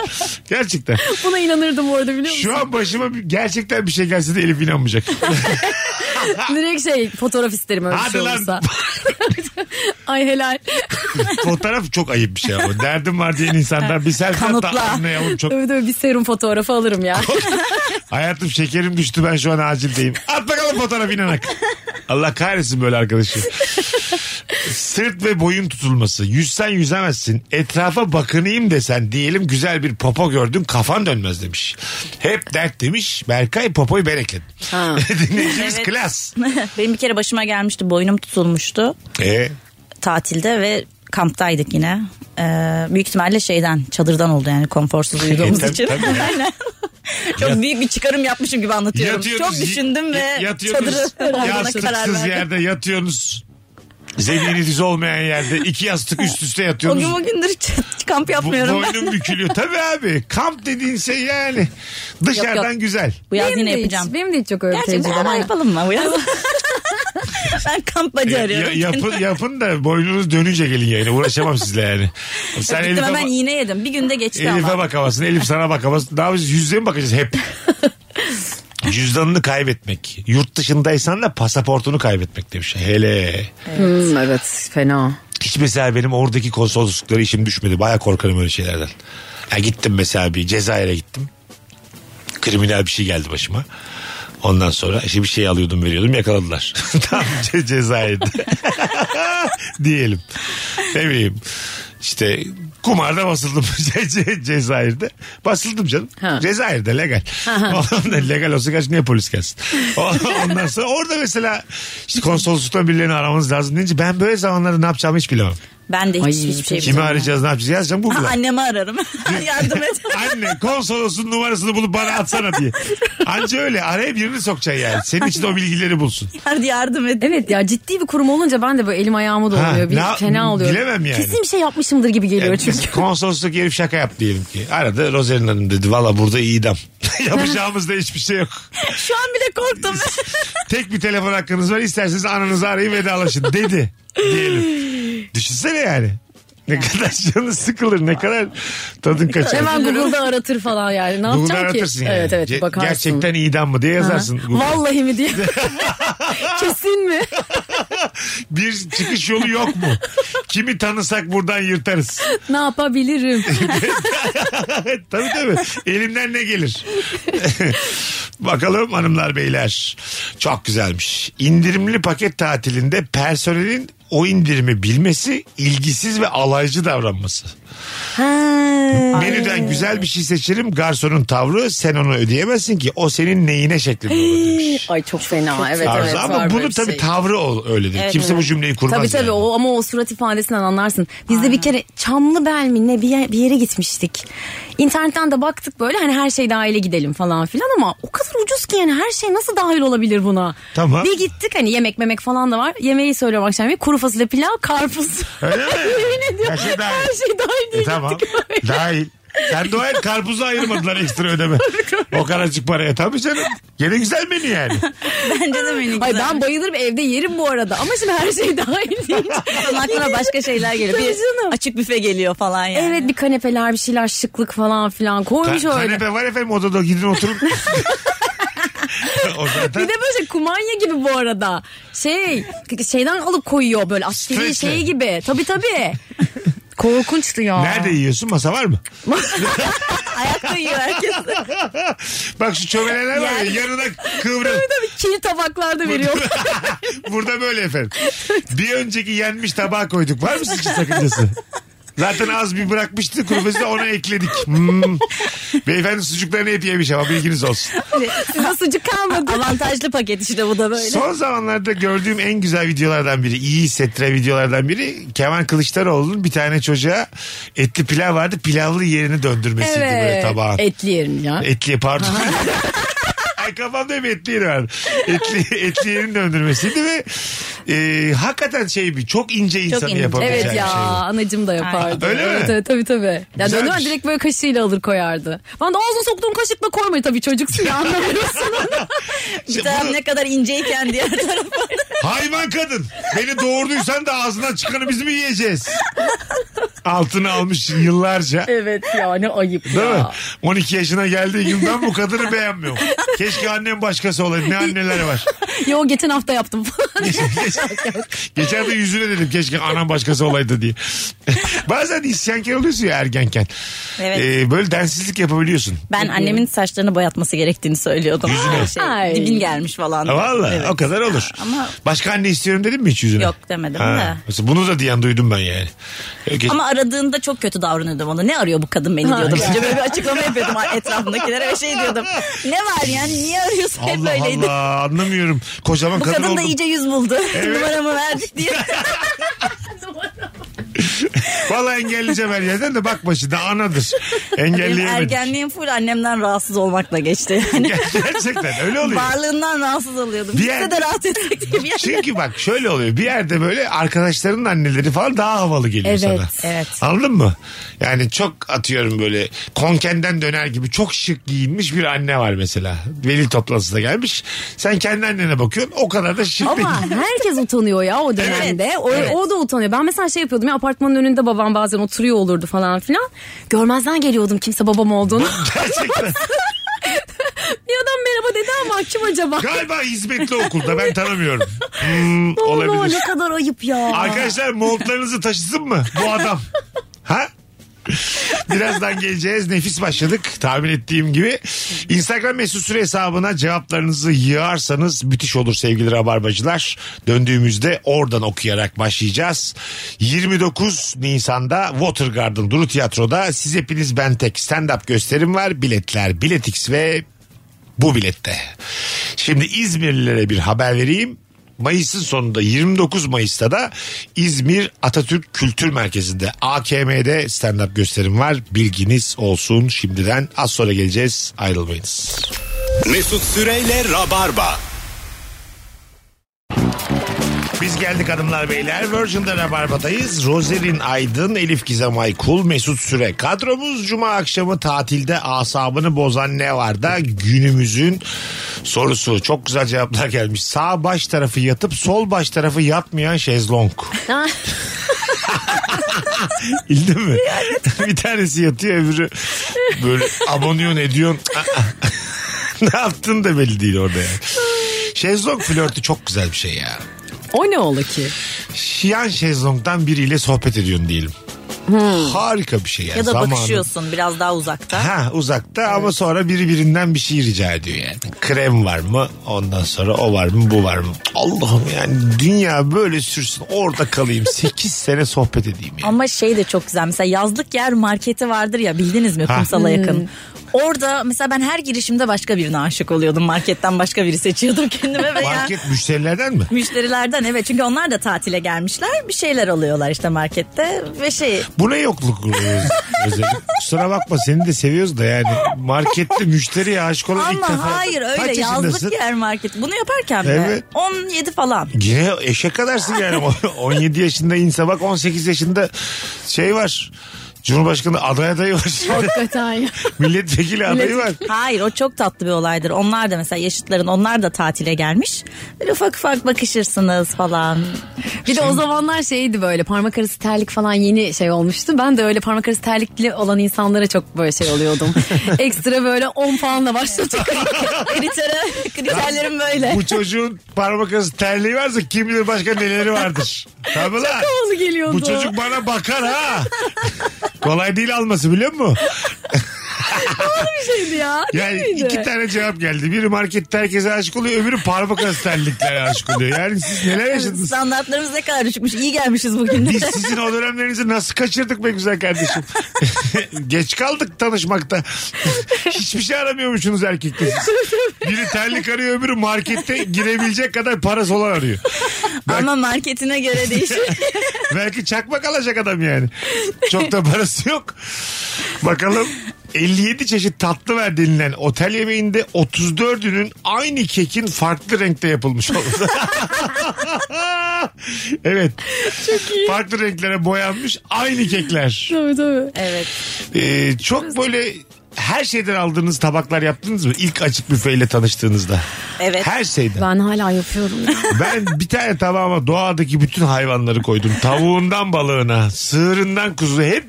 Speaker 3: Gerçekten.
Speaker 4: Buna inanırdım orada biliyor musun?
Speaker 3: Şu an başıma bir- gerçekten bir şey gelse de Elif inanmayacak.
Speaker 4: Direkt şey fotoğraf isterim öyle bir
Speaker 3: Hadi
Speaker 4: şey
Speaker 3: lan.
Speaker 4: olursa. Ay helal.
Speaker 3: Fotoğraf çok ayıp bir şey ama. Derdim var diyen insanlar bir selfie
Speaker 5: Kanıtla.
Speaker 3: hatta anlayalım çok.
Speaker 4: Öyle bir serum fotoğrafı alırım ya.
Speaker 3: Hayatım şekerim düştü ben şu an acildeyim. At bakalım fotoğraf inanak. Allah kahretsin böyle arkadaşı. Sırt ve boyun tutulması. Yüzsen yüzemezsin. Etrafa bakınayım desen diyelim güzel bir popo gördün kafan dönmez demiş. Hep dert demiş. Berkay popoyu ben ekledim.
Speaker 4: Ha.
Speaker 3: Dinleyicimiz
Speaker 5: Evet.
Speaker 3: klas.
Speaker 5: Benim bir kere başıma gelmişti boynum tutulmuştu
Speaker 3: Ee,
Speaker 5: tatilde ve kamptaydık yine. Ee, büyük ihtimalle şeyden çadırdan oldu yani konforsuz uyuduğumuz
Speaker 3: E, tabii,
Speaker 5: için.
Speaker 3: tabii.
Speaker 5: Aynen. Çok büyük bir çıkarım yapmışım gibi anlatıyorum.
Speaker 3: yatıyorsunuz,
Speaker 5: Çok düşündüm ve
Speaker 3: y- yatıyorsunuz,
Speaker 5: çadırı almana karar
Speaker 3: Yastıksız
Speaker 5: verdim.
Speaker 3: yerde yatıyorsunuz. Zemini düz olmayan yerde iki yastık üst üste
Speaker 5: O
Speaker 3: yatıyorsunuz.
Speaker 5: gün bugündür hiç kamp
Speaker 3: Bu,
Speaker 5: yapmıyorum ben.
Speaker 3: boynum bükülüyor. Tabii abi. Kamp dediğin şey yani. Dışarıdan
Speaker 5: Yok, yok.
Speaker 3: güzel.
Speaker 5: Bu yaz
Speaker 4: Benim
Speaker 5: yine
Speaker 4: de hiç-
Speaker 5: yapacağım.
Speaker 4: benim de hiç çok öyle
Speaker 5: Gerçi
Speaker 4: tecrübem
Speaker 5: beraber
Speaker 4: yok.
Speaker 5: yapalım mı bu yaz? ben kamp bacı
Speaker 3: Ya-
Speaker 5: arıyorum.
Speaker 3: ya- yapın, yapın da boynunuz dönünce gelin yayına. Uğraşamam sizle yani. Sen
Speaker 5: Gittim
Speaker 3: Elif'e,
Speaker 5: hemen
Speaker 3: ba-
Speaker 5: iğne yedim. Bir günde geçti
Speaker 3: Elif'e
Speaker 5: ama.
Speaker 3: bakamazsın. Elif sana bakamazsın. Ne yapacağız? Yüzde mi bakacağız hep? Cüzdanını kaybetmek. Yurt dışındaysan da pasaportunu kaybetmek demiş. Hele.
Speaker 4: Hmm, evet fena.
Speaker 3: Hiç mesela benim oradaki konsoloslukları işim düşmedi. Baya korkarım öyle şeylerden. Ya gittim mesela bir Cezayir'e gittim. Kriminal bir şey geldi başıma. Ondan sonra işte bir şey alıyordum veriyordum yakaladılar. Tam Ce- Cezayir'de. Diyelim. Ne bileyim. İşte kumarda basıldım Ce- Ce- Cezayir'de. Basıldım canım.
Speaker 4: Ha.
Speaker 3: Cezayir'de legal. Ondan legal olsa gerçi niye polis gelsin? O- Ondan sonra orada mesela işte konsolosluktan birilerini aramanız lazım deyince ben böyle zamanlarda ne yapacağımı hiç bilemem.
Speaker 5: Ben de hiç,
Speaker 4: Ay,
Speaker 5: hiçbir şey
Speaker 3: Kimi
Speaker 5: bilmiyorum.
Speaker 3: arayacağız ne yapacağız yazacağım
Speaker 5: Ha,
Speaker 3: Google'a.
Speaker 5: annemi ararım. Yardım et.
Speaker 3: Anne konsolosun numarasını bulup bana atsana diye. Anca öyle araya birini sokacaksın yani. Senin için o bilgileri bulsun.
Speaker 5: Hadi yardım et.
Speaker 4: Evet ya ciddi bir kurum olunca ben de böyle elim ayağıma
Speaker 3: Ha,
Speaker 4: dolanıyor. Bir
Speaker 3: la-
Speaker 4: fena oluyor.
Speaker 3: bilemem yani.
Speaker 4: Kesin bir şey yapmışımdır gibi geliyor
Speaker 3: Yani
Speaker 4: çünkü.
Speaker 3: biz konsolosluk herif şaka yap diyelim ki. Arada Rozerin Hanım dedi valla burada idam. Yapacağımız da hiçbir şey yok.
Speaker 5: Şu an bile korktum.
Speaker 3: Tek bir telefon hakkınız var isterseniz ananızı arayın vedalaşın dedi. Diyelim. Düşünsene yani. Ne kadar canı sıkılır ne kadar tadın kaçar.
Speaker 4: Hemen Google'da aratır falan yani. Ne
Speaker 3: Google'dan
Speaker 4: yapacaksın ki?
Speaker 3: aratırsın yani.
Speaker 4: Evet evet
Speaker 3: Ge-
Speaker 4: bakarsın.
Speaker 3: Gerçekten idam mı diye yazarsın. Google'a.
Speaker 4: Vallahi mi diye. Kesin mi?
Speaker 3: Bir çıkış yolu yok mu? Kimi tanısak buradan yırtarız.
Speaker 4: ne yapabilirim?
Speaker 3: tabii tabii. Elimden ne gelir? Bakalım hanımlar beyler. Çok güzelmiş. İndirimli paket tatilinde personelin o indirimi bilmesi, ilgisiz ve alaycı davranması. Menüden güzel bir şey seçelim. Garsonun tavrı sen onu ödeyemezsin ki o senin neyine şeklinde olur demiş.
Speaker 4: Ay çok fena. Evet
Speaker 3: Arzu
Speaker 4: evet.
Speaker 3: ama
Speaker 4: var böyle
Speaker 3: bunu
Speaker 4: bir
Speaker 3: tabii
Speaker 4: şey.
Speaker 3: tavrı ol- öyledir.
Speaker 5: Evet,
Speaker 3: Kimse
Speaker 5: evet.
Speaker 3: bu cümleyi kurmaz.
Speaker 4: Tabii tabii
Speaker 3: yani.
Speaker 4: o ama o surat ifadesinden anlarsın. Biz de bir kere Çamlıbel mi ne bir, yer- bir yere gitmiştik. İnternetten de baktık böyle hani her şey dahile gidelim falan filan ama o kadar ucuz ki yani her şey nasıl dahil olabilir buna?
Speaker 3: Tamam.
Speaker 4: Bir gittik hani yemek memek falan da var. Yemeği söylüyorum akşam yemeği kuru fasulye pilav karpuz.
Speaker 3: Öyle mi?
Speaker 4: Yemin ediyorum
Speaker 3: Her
Speaker 4: her
Speaker 3: şey dahil.
Speaker 4: şey dahil, diye
Speaker 3: E, tamam.
Speaker 4: gittik böyle.
Speaker 3: Dahil. Sen doğal karpuzu ayırmadılar ekstra ödeme. o kadarcık paraya. Tabii canım. Gene güzel menü yani.
Speaker 5: Bence de menü
Speaker 4: Ay
Speaker 5: güzel.
Speaker 4: ben bayılırım evde yerim bu arada ama şimdi her şey dahil deyince.
Speaker 5: Sonra aklına başka şeyler geliyor.
Speaker 4: Tabii
Speaker 5: Bir
Speaker 4: canım.
Speaker 5: açık büfe geliyor falan yani.
Speaker 4: Evet bir kanepeler bir şeyler şıklık falan filan
Speaker 3: Ka-
Speaker 4: koymuş öyle.
Speaker 3: kanepe var efendim odada gidin oturun. o zaten
Speaker 4: Bir de böyle şey, kumanya gibi bu arada. Şey şeyden alıp koyuyor böyle
Speaker 3: Streçle.
Speaker 4: askeri şey gibi. Tabii tabii. Korkunçtu ya.
Speaker 3: Nerede yiyorsun? Masa var mı?
Speaker 5: Ayakta yiyor herkes.
Speaker 3: Bak şu çömeleler var ya
Speaker 5: Yani-
Speaker 3: yanına kıvrıl.
Speaker 4: Kil tabaklarda veriyor.
Speaker 3: Burada böyle efendim. Bir önceki yenmiş tabağa koyduk. Var mı sizin için sakıncası? Zaten az bir bırakmıştı kurufesi ona ekledik. Hmm. Beyefendi sucuklarını et yemiş ama bilginiz olsun.
Speaker 4: Hani Size sucuk kalmadı.
Speaker 5: Avantajlı paket işte bu da böyle.
Speaker 3: Son zamanlarda gördüğüm en güzel videolardan biri, iyi hissettiren videolardan biri Kemal Kılıçdaroğlu'nun bir tane çocuğa etli pilav vardı. Pilavlı yerini döndürmesiydi böyle
Speaker 4: Evet.
Speaker 3: tabağın.
Speaker 4: Etli yerim ya.
Speaker 3: Etliye pardon. Ay kafamda hep etli yeri vardı. Etli, etli yerin döndürmesiydi ve e, hakikaten şey bir çok ince insanı
Speaker 5: ince.
Speaker 3: yapabileceği
Speaker 4: Evet
Speaker 3: bir
Speaker 4: ya
Speaker 3: şey bu.
Speaker 4: anacım da yapardı.
Speaker 3: Öyle mi?
Speaker 4: evet, evet, tabii tabii. Ya
Speaker 3: Güzelmiş.
Speaker 4: dönüyor direkt böyle kaşığıyla alır koyardı. Ben de ağzına soktuğum kaşıkla koymayı tabii çocuksun ya anlamıyorsun.
Speaker 5: Bir taraf
Speaker 3: bunu-
Speaker 5: ne kadar inceyken diğer taraf.
Speaker 3: Hayvan kadın. Beni doğurduysan da ağzından çıkanı biz mi yiyeceğiz? Altını almış yıllarca.
Speaker 4: evet ya ne ayıp
Speaker 3: Değil mi?
Speaker 4: ya.
Speaker 3: 12 yaşına geldiği gün ben bu kadını beğenmiyorum. Keşke annem başkası olaydı. Ne anneler var.
Speaker 4: Yo geçen hafta yaptım falan.
Speaker 3: Geçen de yüzüne dedim keşke anam başkası olaydı diye. Bazen isyankar oluyorsun ya ergenken.
Speaker 5: Evet.
Speaker 3: Ee, böyle densizlik yapabiliyorsun.
Speaker 5: Ben annemin saçlarını boyatması gerektiğini söylüyordum. Yüzüne.
Speaker 4: Ay.
Speaker 5: dibin gelmiş falan.
Speaker 3: Ha, Valla
Speaker 5: Evet.
Speaker 3: o kadar olur.
Speaker 5: Ama-
Speaker 3: Başka anne istiyorum dedim mi hiç yüzüne?
Speaker 5: Yok, demedim de.
Speaker 3: Mesela bunu da diyen duydum ben yani. Ee, geç-
Speaker 5: Ama aradığında çok kötü davranıyordum ona. Ne arıyor bu kadın beni diyordum. Önce böyle bir açıklama yapıyordum etrafındakilere ve şey diyordum. Ne var yani niye arıyorsun hep
Speaker 3: Allah
Speaker 5: böyleydi.
Speaker 3: Allah anlamıyorum. Kocaman
Speaker 5: Bu
Speaker 3: kadın,
Speaker 5: kadın da
Speaker 3: oldum.
Speaker 5: iyice yüz buldu. Numaramı verdik diye.
Speaker 3: Valla engelleyeceğim her yerden de bakma şimdi anadır.
Speaker 5: Benim
Speaker 3: Engelleyemedik.
Speaker 5: ergenliğim full annemden rahatsız olmakla geçti yani.
Speaker 3: Gerçekten öyle oluyor. Şey,
Speaker 5: Varlığından rahatsız oluyordum.
Speaker 3: Bir
Speaker 5: Bize
Speaker 3: yer-
Speaker 5: de rahat etsek diye bir yer.
Speaker 3: Çünkü bak şöyle oluyor. Bir yerde böyle arkadaşlarının anneleri falan daha havalı geliyor
Speaker 4: Evet,
Speaker 3: sana.
Speaker 5: evet.
Speaker 3: Anladın mı? Yani çok atıyorum böyle konkenden döner gibi çok şık giyinmiş bir anne var mesela. Veli toplantısına gelmiş. Sen kendi annene bakıyorsun o kadar da şık değil.
Speaker 4: Ama herkes utanıyor ya o dönemde.
Speaker 5: Evet,
Speaker 4: O,
Speaker 5: evet.
Speaker 4: o da utanıyor. Ben mesela şey yapıyordum ya apartmanın önünde babam bazen oturuyor olurdu falan filan. Görmezden geliyordum kimse babam olduğunu.
Speaker 3: Gerçekten.
Speaker 4: bir adam merhaba dedi ama kim acaba?
Speaker 3: Galiba hizmetli okulda ben tanımıyorum. Hmm,
Speaker 4: Allah,
Speaker 3: olabilir.
Speaker 4: ne kadar ayıp ya.
Speaker 3: Arkadaşlar montlarınızı taşısın mı bu adam? Ha? Birazdan geleceğiz. Nefis başladık tahmin ettiğim gibi. Instagram mesut süre hesabına cevaplarınızı yığarsanız müthiş olur sevgili rabarbacılar. Döndüğümüzde oradan okuyarak başlayacağız. 29 Nisan'da Water Garden Duru Tiyatro'da siz hepiniz ben tek stand-up gösterim var. Biletler Biletix ve bu bilette. Şimdi İzmirlilere bir haber vereyim. Mayıs'ın sonunda 29 Mayıs'ta da İzmir Atatürk Kültür Merkezi'nde AKM'de stand-up gösterim var. Bilginiz olsun şimdiden. Az sonra geleceğiz. Ayrılmayınız.
Speaker 2: Mesut Süreyle Rabarba.
Speaker 3: Biz geldik hanımlar beyler. Virgin'de Rabarba'dayız. Rozerin Aydın, Elif Gizem Aykul, Mesut Süre. Kadromuz Cuma akşamı tatilde asabını bozan ne var da günümüzün sorusu. Çok güzel cevaplar gelmiş. Sağ baş tarafı yatıp sol baş tarafı yatmayan şezlong. Bildin mi? bir tanesi yatıyor öbürü böyle abonuyon ediyorsun. ne yaptın da belli değil orada yani. Şezlong flörtü çok güzel bir şey ya.
Speaker 4: o ne ola ki?
Speaker 3: Şiyan şezlongdan biriyle sohbet ediyorsun diyelim. Harika bir şey yani.
Speaker 5: Hmm. Ya da
Speaker 3: Zamanı-
Speaker 5: bakışıyorsun biraz daha uzakta.
Speaker 3: Ha uzakta ama sonra biri birinden bir şey rica ediyor yani. Krem var mı? Ondan sonra o var mı? Bu var mı? Allah'ım yani dünya böyle sürsün. Orada kalayım. 8 sene sohbet edeyim yani.
Speaker 5: Ama şey de çok güzel. Mesela yazlık yer marketi vardır ya bildiniz mi
Speaker 3: Ha.
Speaker 5: kumsala yakın. Orada mesela ben her girişimde başka birine aşık oluyordum. Marketten başka biri seçiyordum kendime ve ya.
Speaker 3: Market müşterilerden mi?
Speaker 5: Müşterilerden evet çünkü onlar da tatile gelmişler bir şeyler alıyorlar işte markette ve şey
Speaker 3: Bu ne yokluk oluyor Özlem? Kusura bakma seni de seviyoruz da yani markette müşteriye aşık olan ilk defa.
Speaker 5: ama hayır
Speaker 3: Kaç
Speaker 5: öyle
Speaker 3: yaşındasın?
Speaker 5: yazlık yer market bunu yaparken de
Speaker 3: Evet.
Speaker 5: 17 falan
Speaker 3: Yine eşek kadarsın yani. 17 yaşında insan bak 18 yaşında şey var. Cumhurbaşkanı aday adayı var.
Speaker 4: Hakikaten ya.
Speaker 3: Milletvekili adayı var.
Speaker 5: Hayır o çok tatlı bir olaydır. Onlar da mesela yaşıtların onlar da tatile gelmiş. Böyle ufak ufak bakışırsınız falan.
Speaker 4: Bir de o zamanlar şeydi böyle parmak arası terlik falan yeni şey olmuştu. Ben de öyle parmak arası terlikli olan insanlara çok böyle şey oluyordum. Ekstra böyle 10 puanla başladık.
Speaker 5: Kriteri, kriterlerim böyle.
Speaker 3: Bu çocuğun parmak arası terliği varsa kim bilir başka neleri vardır. Tabii lan.
Speaker 4: havalı geliyordu.
Speaker 3: Bu çocuk bana bakar ha. Kolay değil alması biliyor musun?
Speaker 4: şeydi ya. değil
Speaker 3: Yani
Speaker 4: miydi?
Speaker 3: iki tane cevap geldi. Biri markette herkese aşık oluyor. Öbürü parmak arası terliklere aşık oluyor. Yani siz neler yaşadınız?
Speaker 5: Standartlarımız ne kadar düşmüş. İyi gelmişiz bugün.
Speaker 3: Biz sizin o dönemlerinizi nasıl kaçırdık be güzel kardeşim? Geç kaldık tanışmakta. Hiçbir şey aramıyormuşsunuz erkekte siz. Biri terlik arıyor öbürü markette girebilecek kadar parası olan arıyor.
Speaker 5: Ama marketine göre değişir.
Speaker 3: Belki çakmak alacak adam yani. Çok da parası yok. Bakalım 57 çeşit tatlı ver denilen otel yemeğinde 34'ünün aynı kekin farklı renkte yapılmış olması. evet. Farklı renklere boyanmış aynı kekler.
Speaker 4: Tabii tabii.
Speaker 5: evet.
Speaker 3: Ee, çok böyle her şeyden aldığınız tabaklar yaptınız mı? İlk açık büfeyle tanıştığınızda.
Speaker 5: Evet.
Speaker 3: Her şeyden.
Speaker 4: Ben hala yapıyorum. ya.
Speaker 3: Ben bir tane tabağıma doğadaki bütün hayvanları koydum. Tavuğundan balığına, sığırından kuzu hep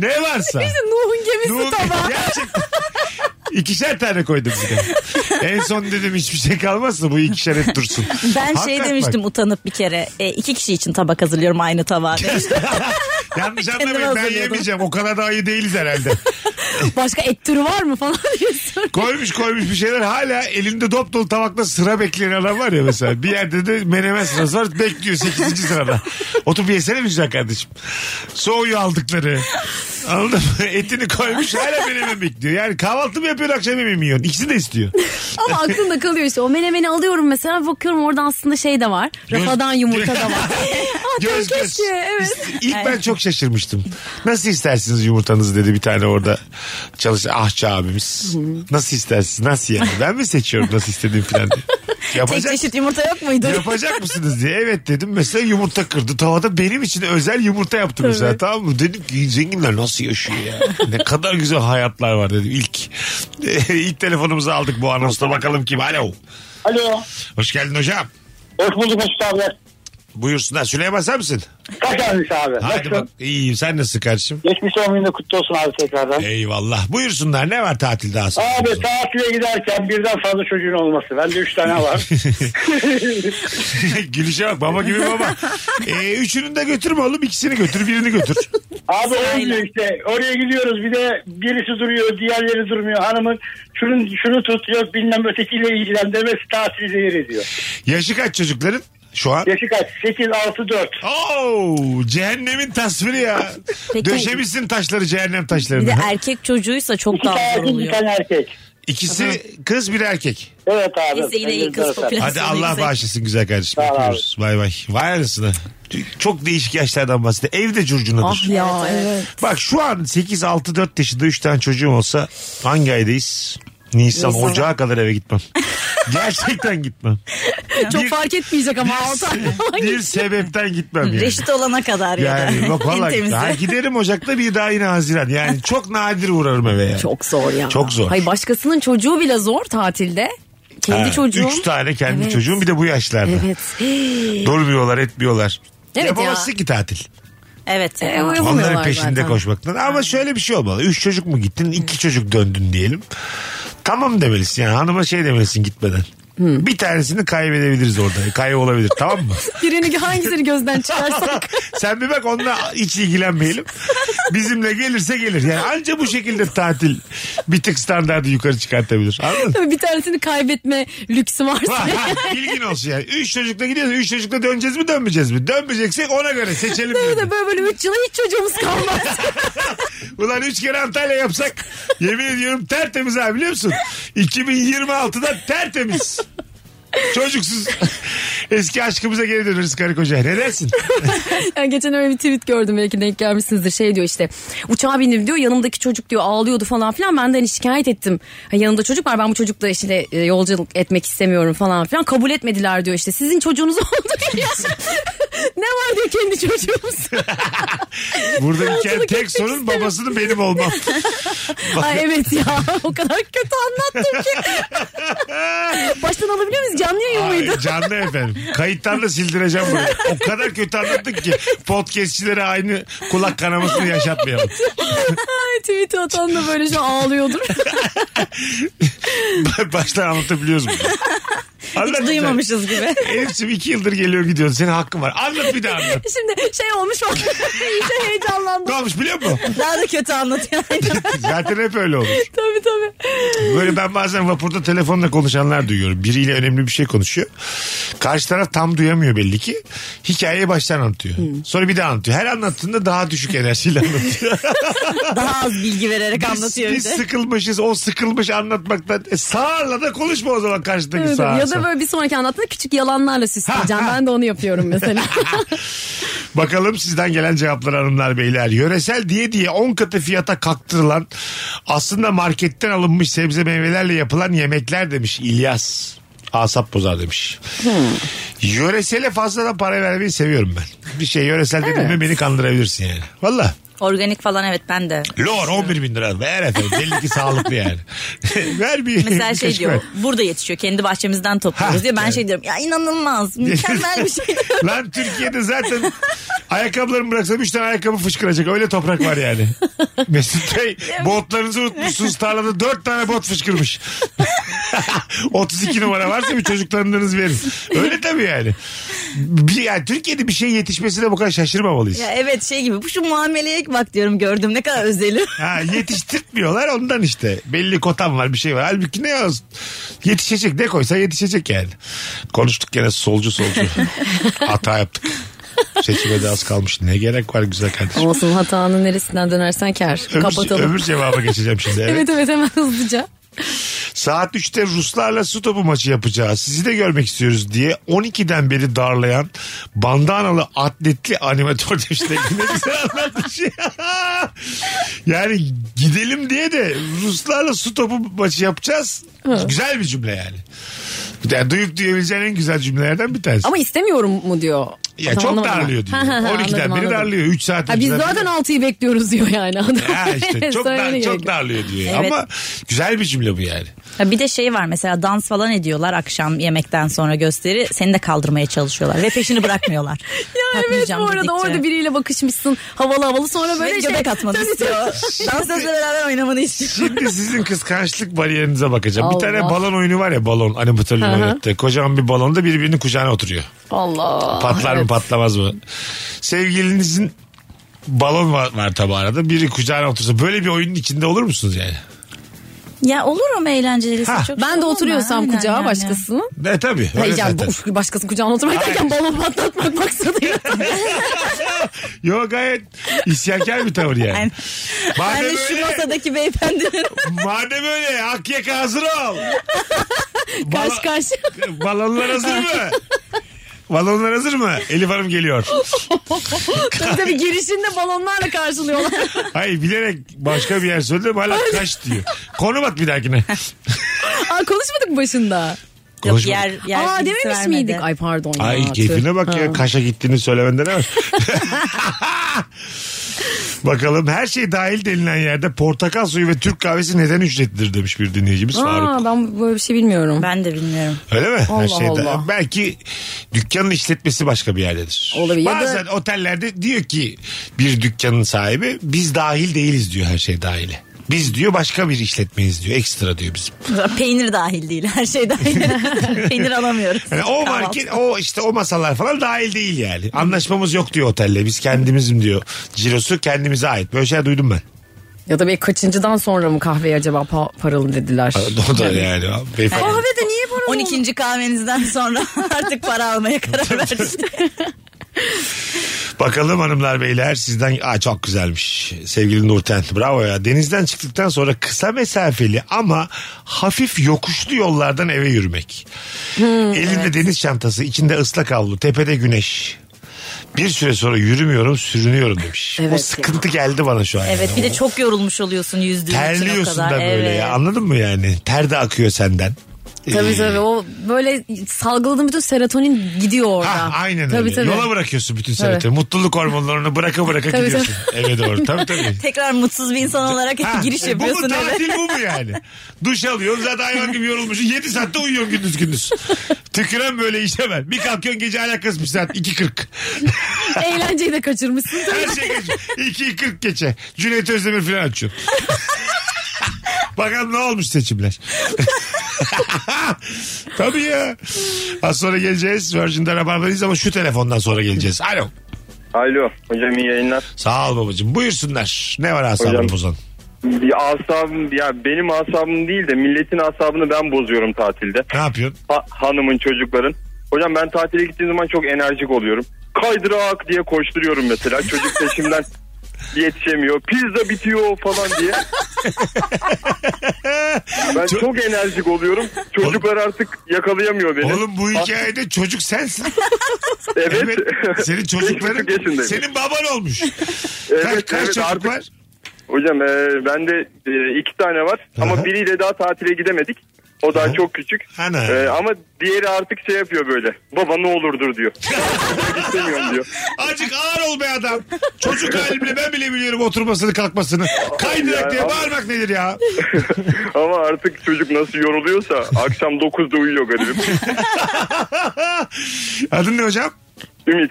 Speaker 3: ne varsa.
Speaker 4: Nuh'un gemisi
Speaker 3: Doğum-
Speaker 4: tabağı.
Speaker 3: Gerçekten. İkişer tane koydum bir de. En son dedim hiçbir şey kalmazsa bu ikişer hep dursun.
Speaker 5: Ben şey
Speaker 3: Hakikaten
Speaker 5: demiştim
Speaker 3: bak.
Speaker 5: utanıp bir kere. E, iki kişi için tabak hazırlıyorum aynı tabağa. demiştim.
Speaker 3: Yanlış
Speaker 5: Kendime
Speaker 3: anlamayın ben
Speaker 5: hazırlıyordum.
Speaker 3: yemeyeceğim. O kadar da iyi değiliz herhalde.
Speaker 4: Başka et türü var mı falan diye soruyor.
Speaker 3: Koymuş koymuş bir şeyler hala elinde dop dolu tabakla sıra bekleyen adam var ya mesela. Bir yerde de menemen sırası var bekliyor 8. sırada. Oturup yesene mi güzel kardeşim. Soğuyor aldıkları. Anladın mı? Etini koymuş hala menemen bekliyor. Yani kahvaltı mı yapıyor akşam yemeği mi yiyorsun? İkisini de istiyor.
Speaker 4: Ama aklımda kalıyor işte. O menemeni alıyorum mesela bakıyorum orada aslında şey de var. Rafadan yumurta da var. zaten
Speaker 3: Göz göz.
Speaker 4: keşke. Evet.
Speaker 3: İlk ben çok şaşırmıştım. Nasıl istersiniz yumurtanızı dedi bir tane orada çalış ahçı abimiz. Nasıl istersiniz nasıl yani ben mi seçiyorum nasıl istediğim falan diye.
Speaker 5: Tek
Speaker 3: Yapacak,
Speaker 5: çeşit yumurta yok muydu?
Speaker 3: yapacak mısınız diye evet dedim mesela yumurta kırdı tavada benim için özel yumurta yaptı mesela tamam mı dedim ki zenginler nasıl yaşıyor ya ne kadar güzel hayatlar var dedim ilk ilk telefonumuzu aldık bu anonsla bakalım kim alo
Speaker 8: Alo.
Speaker 3: hoş geldin hocam
Speaker 8: Hoş bulduk Mesut abi.
Speaker 3: buyursunlar Süleyman sen misin
Speaker 8: Kaç gelmiş abi?
Speaker 3: hadi bak
Speaker 8: Nasılsın?
Speaker 3: iyiyim sen nasılsın kardeşim
Speaker 8: Geçmiş doğum günü kutlu olsun abi tekrardan.
Speaker 3: Eyvallah. Buyursunlar ne var tatilde aslında?
Speaker 8: Abi tatile giderken birden fazla çocuğun olması. Bende üç tane var.
Speaker 3: Gülüşe bak baba gibi baba. Ee, üçünü de götürme oğlum ikisini götür birini götür.
Speaker 8: Abi olmuyor işte. Oraya gidiyoruz. Bir de birisi duruyor, diğerleri durmuyor. Hanımın şunu, şunu tut yok bilmem ötekiyle ilgilen demesi tatil zehir ediyor.
Speaker 3: Yaşı kaç çocukların şu an?
Speaker 8: Yaşı kaç? 8, 6, 4.
Speaker 3: Oo, cehennemin tasviri ya.
Speaker 5: Peki-
Speaker 3: Döşemişsin taşları cehennem
Speaker 5: Bir de er-
Speaker 3: taşlarını.
Speaker 5: erkek çocuğuysa çok
Speaker 8: İki
Speaker 5: daha
Speaker 8: tane
Speaker 5: zor
Speaker 8: kız, bir
Speaker 5: oluyor.
Speaker 8: tane erkek.
Speaker 3: İkisi kız bir erkek.
Speaker 8: Evet abi.
Speaker 5: Neyse yine iyi kız
Speaker 8: Enteresan.
Speaker 5: popülasyonu
Speaker 3: Hadi Allah
Speaker 5: yüksek.
Speaker 3: bağışlasın güzel kardeşim.
Speaker 8: Sağ ol abi.
Speaker 3: Öpüyoruz. Bay bay. Vay arasına. Çok değişik yaşlardan bahsediyor. Evde curcunadır.
Speaker 4: Ah ya evet.
Speaker 3: Bak şu an 8, 6, 4 yaşında 3 tane çocuğum olsa hangi aydayız? Nisan,
Speaker 5: Nisan.
Speaker 3: Ocağa kadar eve gitmem. Gerçekten gitmem.
Speaker 4: Çok
Speaker 3: Bir-
Speaker 4: fark etmeyecek ama altı ay falan
Speaker 3: bir sebepten gitmem yani.
Speaker 5: Reşit olana kadar ya da.
Speaker 3: Yani bak
Speaker 5: En
Speaker 3: vallahi
Speaker 5: temizi.
Speaker 3: daha giderim Ocak'ta bir daha yine Haziran. Yani çok nadir uğrarım eve yani.
Speaker 4: Çok zor ya.
Speaker 3: Çok zor.
Speaker 4: Hayır başkasının çocuğu bile zor tatilde. Kendi
Speaker 3: Ha,
Speaker 4: çocuğum.
Speaker 3: Üç tane kendi
Speaker 4: Evet.
Speaker 3: çocuğum bir de bu yaşlarda.
Speaker 4: Evet.
Speaker 3: Durmuyorlar etmiyorlar.
Speaker 4: Evet
Speaker 3: Yapamazsın
Speaker 4: ya.
Speaker 3: ki tatil.
Speaker 5: Evet.
Speaker 4: E,
Speaker 5: evet.
Speaker 4: yapamıyorlar
Speaker 3: Onların peşinde
Speaker 4: zaten.
Speaker 3: koşmaktan. Ama şöyle bir şey olmalı. Üç çocuk mu gittin? iki çocuk döndün diyelim. Tamam demelisin yani. Hanıma şey demelisin gitmeden. Bir tanesini kaybedebiliriz orada. Kaybolabilir tamam mı?
Speaker 4: Birini hangisini gözden çıkarsak.
Speaker 3: Sen bir bak onunla hiç ilgilenmeyelim. Bizimle gelirse gelir. Yani anca bu şekilde tatil bir tık standartı yukarı çıkartabilir. Anladın mı?
Speaker 4: Tabii bir tanesini kaybetme lüksü varsa.
Speaker 3: Ha, ha, Bilgin olsun yani. Üç çocukla gidiyoruz. Üç çocukla döneceğiz mi dönmeyeceğiz mi? Dönmeyeceksek ona göre seçelim.
Speaker 4: Tabii
Speaker 3: dedi.
Speaker 4: de böyle böyle 3 yıla hiç çocuğumuz kalmaz.
Speaker 3: Ulan üç kere Antalya yapsak yemin ediyorum tertemiz abi biliyor musun? 2026'da tertemiz. Çocuksuz. Eski aşkımıza geri döneriz karı koca. Ne dersin?
Speaker 4: Yani geçen öyle bir tweet gördüm belki denk gelmişsinizdir. Şey diyor işte uçağa bindim diyor yanımdaki çocuk diyor ağlıyordu falan filan. Ben de hani şikayet ettim. Ha, yanında çocuk var ben bu çocukla işte e, yolculuk etmek istemiyorum falan filan. Kabul etmediler diyor işte. Sizin çocuğunuz oldu diyor. ne var diyor kendi çocuğumuz.
Speaker 3: Burada bir kere
Speaker 4: Yolculuk
Speaker 3: tek
Speaker 4: etmek
Speaker 3: sorun
Speaker 4: istemiyorum.
Speaker 3: babasının benim olmam.
Speaker 4: Ay evet ya o kadar kötü anlattım ki. Baştan alabiliyor muyuz? Canlı yayın
Speaker 3: Ay,
Speaker 4: mıydı?
Speaker 3: canlı efendim. Kayıttan da sildireceğim bunu. O kadar kötü anlattık ki podcastçilere aynı kulak kanamasını yaşatmayalım.
Speaker 4: Ay, tweet'i atan da böyle şu an ağlıyordur.
Speaker 3: Baştan anlatabiliyoruz bunu. Anlat
Speaker 5: Hiç
Speaker 3: güzel.
Speaker 5: duymamışız gibi.
Speaker 3: Elif'ciğim iki yıldır geliyor gidiyorsun. Senin hakkın var. Anlat bir daha anlat.
Speaker 4: Şimdi şey olmuş o. İyice heyecanlandım.
Speaker 3: Ne olmuş biliyor musun?
Speaker 5: Daha da kötü anlatıyor.
Speaker 3: Zaten hep öyle olur.
Speaker 4: tabii tabii.
Speaker 3: Böyle ben bazen vapurda telefonla konuşanlar duyuyorum. Biriyle önemli bir şey konuşuyor. Karşı taraf tam duyamıyor belli ki. Hikayeyi baştan anlatıyor.
Speaker 4: Hmm.
Speaker 3: Sonra bir daha anlatıyor. Her anlattığında daha düşük enerjiyle anlatıyor.
Speaker 5: Daha az bilgi vererek anlatıyor bir
Speaker 3: Biz
Speaker 5: de.
Speaker 3: sıkılmışız. O sıkılmış anlatmaktan. E, sağırla da konuşma o zaman karşıdaki
Speaker 4: Evet,
Speaker 3: sağa.
Speaker 4: ya da böyle bir sonraki anlattığında küçük yalanlarla süsleyeceğim.
Speaker 3: Ha, ha.
Speaker 4: ben de onu yapıyorum mesela.
Speaker 3: Bakalım sizden gelen cevaplar hanımlar beyler. Yöresel diye diye 10 katı fiyata kaktırılan aslında marketten alınmış sebze meyvelerle yapılan yemekler demiş İlyas. Asap bozar demiş.
Speaker 5: Hmm.
Speaker 3: Yöresele fazla da para vermeyi seviyorum ben. Bir şey yöresel dedim mi beni kandırabilirsin yani. Valla.
Speaker 5: Organik falan evet ben de.
Speaker 3: Lor 11 bin lira ver efendim. Belli ki sağlıklı yani. ver bir.
Speaker 5: Mesela şey
Speaker 3: birkaç
Speaker 5: diyor
Speaker 3: ver.
Speaker 5: burada yetişiyor kendi bahçemizden
Speaker 3: Ha,
Speaker 5: topluyoruz diyor. Ben
Speaker 3: evet.
Speaker 5: şey diyorum ya inanılmaz mükemmel bir şey.
Speaker 3: Lan Türkiye'de zaten ayakkabılarımı bıraksam 3 tane ayakkabı fışkıracak. Öyle toprak var yani. Mesut Bey botlarınızı unutmuşsunuz tarlada 4 tane bot fışkırmış. 32 numara varsa bir çocuklarınız verin. Öyle tabii yani. Bir, yani Türkiye'de bir şey yetişmesine bu kadar şaşırmamalıyız.
Speaker 5: ya evet şey gibi bu şu muameleye bak diyorum gördüm ne kadar özeli.
Speaker 3: Ha, yetiştirtmiyorlar ondan işte. Belli kotam var bir şey var. Halbuki ne yaz? Yetişecek ne koysa yetişecek yani. Konuştuk gene solcu solcu. Hata yaptık. Seçime de az kalmış. Ne gerek var güzel kardeşim.
Speaker 4: Olsun hatanın neresinden dönersen kar.
Speaker 3: Öbür,
Speaker 4: Kapatalım.
Speaker 3: öbür cevaba geçeceğim şimdi. Evet.
Speaker 4: Evet evet hemen hızlıca.
Speaker 3: Saat 3'te Ruslarla su topu maçı yapacağız. Sizi de görmek istiyoruz diye 12'den beri darlayan bandanalı atletli animatör demişler. Ne güzel anlatmış ya. yani gidelim diye de Ruslarla su topu maçı yapacağız. Güzel bir cümle yani. Yani duyup duyabileceğin en güzel cümlelerden bir tanesi.
Speaker 4: Ama istemiyorum mu diyor.
Speaker 3: ya çok
Speaker 4: Anlamadım ben.
Speaker 3: darlıyor diyor.
Speaker 4: Ha, ha,
Speaker 3: 12'den
Speaker 4: anladım,
Speaker 3: beri
Speaker 4: anladım.
Speaker 3: darlıyor. 3 saat.
Speaker 4: Ha, biz
Speaker 3: önceden-
Speaker 4: zaten 6'yı bekliyoruz diyor yani. adam.
Speaker 3: Ha işte çok, dar,
Speaker 4: Söylüyor.
Speaker 3: çok darlıyor diyor.
Speaker 5: Evet.
Speaker 3: Ama güzel bir cümle bu yani.
Speaker 5: Ha bir de şey var mesela dans falan ediyorlar akşam yemekten sonra gösteri. Seni de kaldırmaya çalışıyorlar ve peşini bırakmıyorlar.
Speaker 4: Ya evet bu
Speaker 5: Kalkmayacağım
Speaker 4: arada
Speaker 5: dedikçe.
Speaker 4: orada biriyle bakışmışsın havalı havalı sonra böyle
Speaker 5: Ve
Speaker 4: şey.
Speaker 5: göbek atmanı
Speaker 4: Tabii,
Speaker 5: istiyor. Dansözle beraber oynamanı istiyor.
Speaker 3: Şimdi sizin kıskançlık bariyerinize bakacağım. Bir tane
Speaker 4: Allah.
Speaker 3: balon oyunu var ya balon. Hani bu
Speaker 4: Hı hı.
Speaker 3: öğretti. Kocaman bir balonda birbirinin kucağına oturuyor.
Speaker 4: Allah.
Speaker 3: Patlar mı
Speaker 4: Ah, Evet.
Speaker 3: patlamaz mı? Sevgilinizin balon var, var tabi arada. Biri kucağına otursa böyle bir oyunun içinde olur musunuz yani?
Speaker 5: Ya olur ama eğlencelisi
Speaker 3: Ha.
Speaker 5: çok.
Speaker 4: Ben de
Speaker 5: sorun
Speaker 4: oturuyorsam
Speaker 5: olmaz. Aynen
Speaker 4: kucağa
Speaker 5: yani.
Speaker 4: başkasının.
Speaker 3: Ne tabii. öyle
Speaker 4: Hayır yani
Speaker 3: zaten.
Speaker 4: uf, başkasının kucağına oturmak derken balon patlatmak maksadıyla.
Speaker 3: Yo gayet isyankar bir tavır yani.
Speaker 5: Aynen. Ben
Speaker 3: Madem
Speaker 5: de şu
Speaker 3: öyle,
Speaker 5: masadaki beyefendinin
Speaker 3: madem öyle hak yaka hazır ol.
Speaker 4: Kaş kaş.
Speaker 3: Balonlar hazır mı? Balonlar hazır mı? Elif Hanım geliyor.
Speaker 4: tabii tabii girişinde balonlarla karşılıyorlar.
Speaker 3: Hayır bilerek başka bir yer söyledim hala kaç diyor. Konu bak bir dahakine.
Speaker 4: Aa, konuşmadık başında.
Speaker 5: Yok,
Speaker 3: Konuşma.
Speaker 5: yer, yer
Speaker 4: Aa
Speaker 5: bilgisi
Speaker 4: dememiş
Speaker 5: vermedi.
Speaker 4: miydik? Ay pardon ya.
Speaker 3: Ay keyfine
Speaker 4: tüh.
Speaker 3: bak
Speaker 4: Ha.
Speaker 3: ya kaşa gittiğini söylemende ne var? Bakalım her şey dahil denilen yerde portakal suyu ve Türk kahvesi neden ücretlidir demiş bir dinleyicimiz Faruk.
Speaker 4: Aa, ben böyle bir şey bilmiyorum.
Speaker 5: Ben de bilmiyorum.
Speaker 3: Öyle mi?
Speaker 4: Allah
Speaker 3: şey da-
Speaker 4: Allah.
Speaker 3: Belki dükkanın işletmesi başka bir yerdedir.
Speaker 4: Olabilir. Ya da-
Speaker 3: Bazen otellerde diyor ki bir dükkanın sahibi biz dahil değiliz diyor her şey dahili. Biz diyor başka bir işletmeyiz diyor. Ekstra diyor bizim.
Speaker 5: Peynir dahil değil. Her şey dahil. Peynir alamıyoruz.
Speaker 3: Yani o
Speaker 5: Kahvaltı.
Speaker 3: market o işte o masalar falan dahil değil yani. Anlaşmamız yok diyor otelle. Biz kendimizim diyor. Cirosu kendimize ait. Böyle şeyler duydum ben.
Speaker 4: Ya da bir kaçıncıdan sonra mı kahveye acaba pa- paralı dediler?
Speaker 3: O da yani. Beyefendi.
Speaker 4: Kahvede niye paralı?
Speaker 5: 12. kahvenizden sonra artık para almaya karar verdim.
Speaker 3: Bakalım hanımlar beyler sizden Aa, çok güzelmiş sevgili Nurten bravo ya denizden çıktıktan sonra kısa mesafeli ama hafif yokuşlu yollardan eve yürümek
Speaker 5: Hmm,
Speaker 3: elinde deniz çantası içinde ıslak havlu tepede güneş bir süre sonra yürümüyorum sürünüyorum demiş
Speaker 4: Evet
Speaker 3: o
Speaker 4: ya.
Speaker 3: sıkıntı geldi bana şu an
Speaker 5: Evet
Speaker 3: yani.
Speaker 5: bir de çok yorulmuş oluyorsun yüzdüğün için o
Speaker 3: terliyorsun
Speaker 5: kadar.
Speaker 3: da böyle
Speaker 5: Evet.
Speaker 3: ya anladın mı yani ter de akıyor senden
Speaker 4: Tabii
Speaker 3: Ee,
Speaker 4: tabii o böyle salgıladığın bütün serotonin gidiyor orada.
Speaker 3: Ha, aynen
Speaker 4: tabii,
Speaker 3: öyle.
Speaker 4: Tabii.
Speaker 3: Yola bırakıyorsun bütün serotoni. Mutluluk hormonlarını bıraka bıraka
Speaker 4: Tabii,
Speaker 3: gidiyorsun eve doğru. Tabii tabii.
Speaker 5: Tekrar mutsuz bir insan olarak
Speaker 3: Ha,
Speaker 5: giriş
Speaker 3: e,
Speaker 5: yapıyorsun
Speaker 3: Bu mu
Speaker 5: eve.
Speaker 3: tatil bu mu yani? Duş alıyorsun zaten hayvan gibi yorulmuşsun. 7 saatte uyuyorsun gündüz gündüz. Tüküren böyle işe ben. Bir kalkıyorsun gece alakası bir saat 2.40.
Speaker 4: Eğlenceyi de kaçırmışsın.
Speaker 3: Her şey geç. 2.40 geçe. Cüneyt Özdemir falan açıyorsun. Bakalım ne olmuş seçimler. Tabii ya. Az sonra geleceğiz. Virgin'de Rabarba'dayız ama şu telefondan sonra geleceğiz. Alo.
Speaker 6: Alo hocam iyi yayınlar.
Speaker 3: Sağ ol babacığım. Buyursunlar. Ne var asabını
Speaker 6: Hocam.
Speaker 3: bozan?
Speaker 6: Bir asabım ya benim asabım değil de milletin asabını ben bozuyorum tatilde.
Speaker 3: Ne yapıyorsun?
Speaker 6: Ha- hanımın çocukların. Hocam ben tatile gittiğim zaman çok enerjik oluyorum. Kaydırak diye koşturuyorum mesela. Çocuk peşimden yetişemiyor. Pizza bitiyor falan diye. Ben çok, enerjik oluyorum. Çocuklar artık yakalayamıyor beni.
Speaker 3: Oğlum bu hikayede çocuk sensin.
Speaker 6: evet.
Speaker 3: Evet. Senin çocukların
Speaker 6: Beş buçuk yaşındayım.
Speaker 3: senin baban olmuş. kaç
Speaker 6: Evet,
Speaker 3: kaç
Speaker 6: evet,
Speaker 3: çocuk
Speaker 6: artık-
Speaker 3: var?
Speaker 6: Hocam e, bende e, iki tane var
Speaker 3: Aha.
Speaker 6: ama biriyle daha tatile gidemedik. O daha
Speaker 3: Aha.
Speaker 6: çok küçük.
Speaker 3: Ana.
Speaker 6: E, ama diğeri artık şey yapıyor böyle. Baba ne olurdur diyor. İstemiyorum diyor.
Speaker 3: Azıcık ağır ol be adam. Çocuk halimle ben bile biliyorum oturmasını kalkmasını. Kaydırak
Speaker 6: Ya,
Speaker 3: diye
Speaker 6: abi.
Speaker 3: bağırmak nedir ya?
Speaker 6: Ama artık çocuk nasıl yoruluyorsa akşam 9'da uyuyor garibim.
Speaker 3: Adın ne hocam?
Speaker 6: Ümit.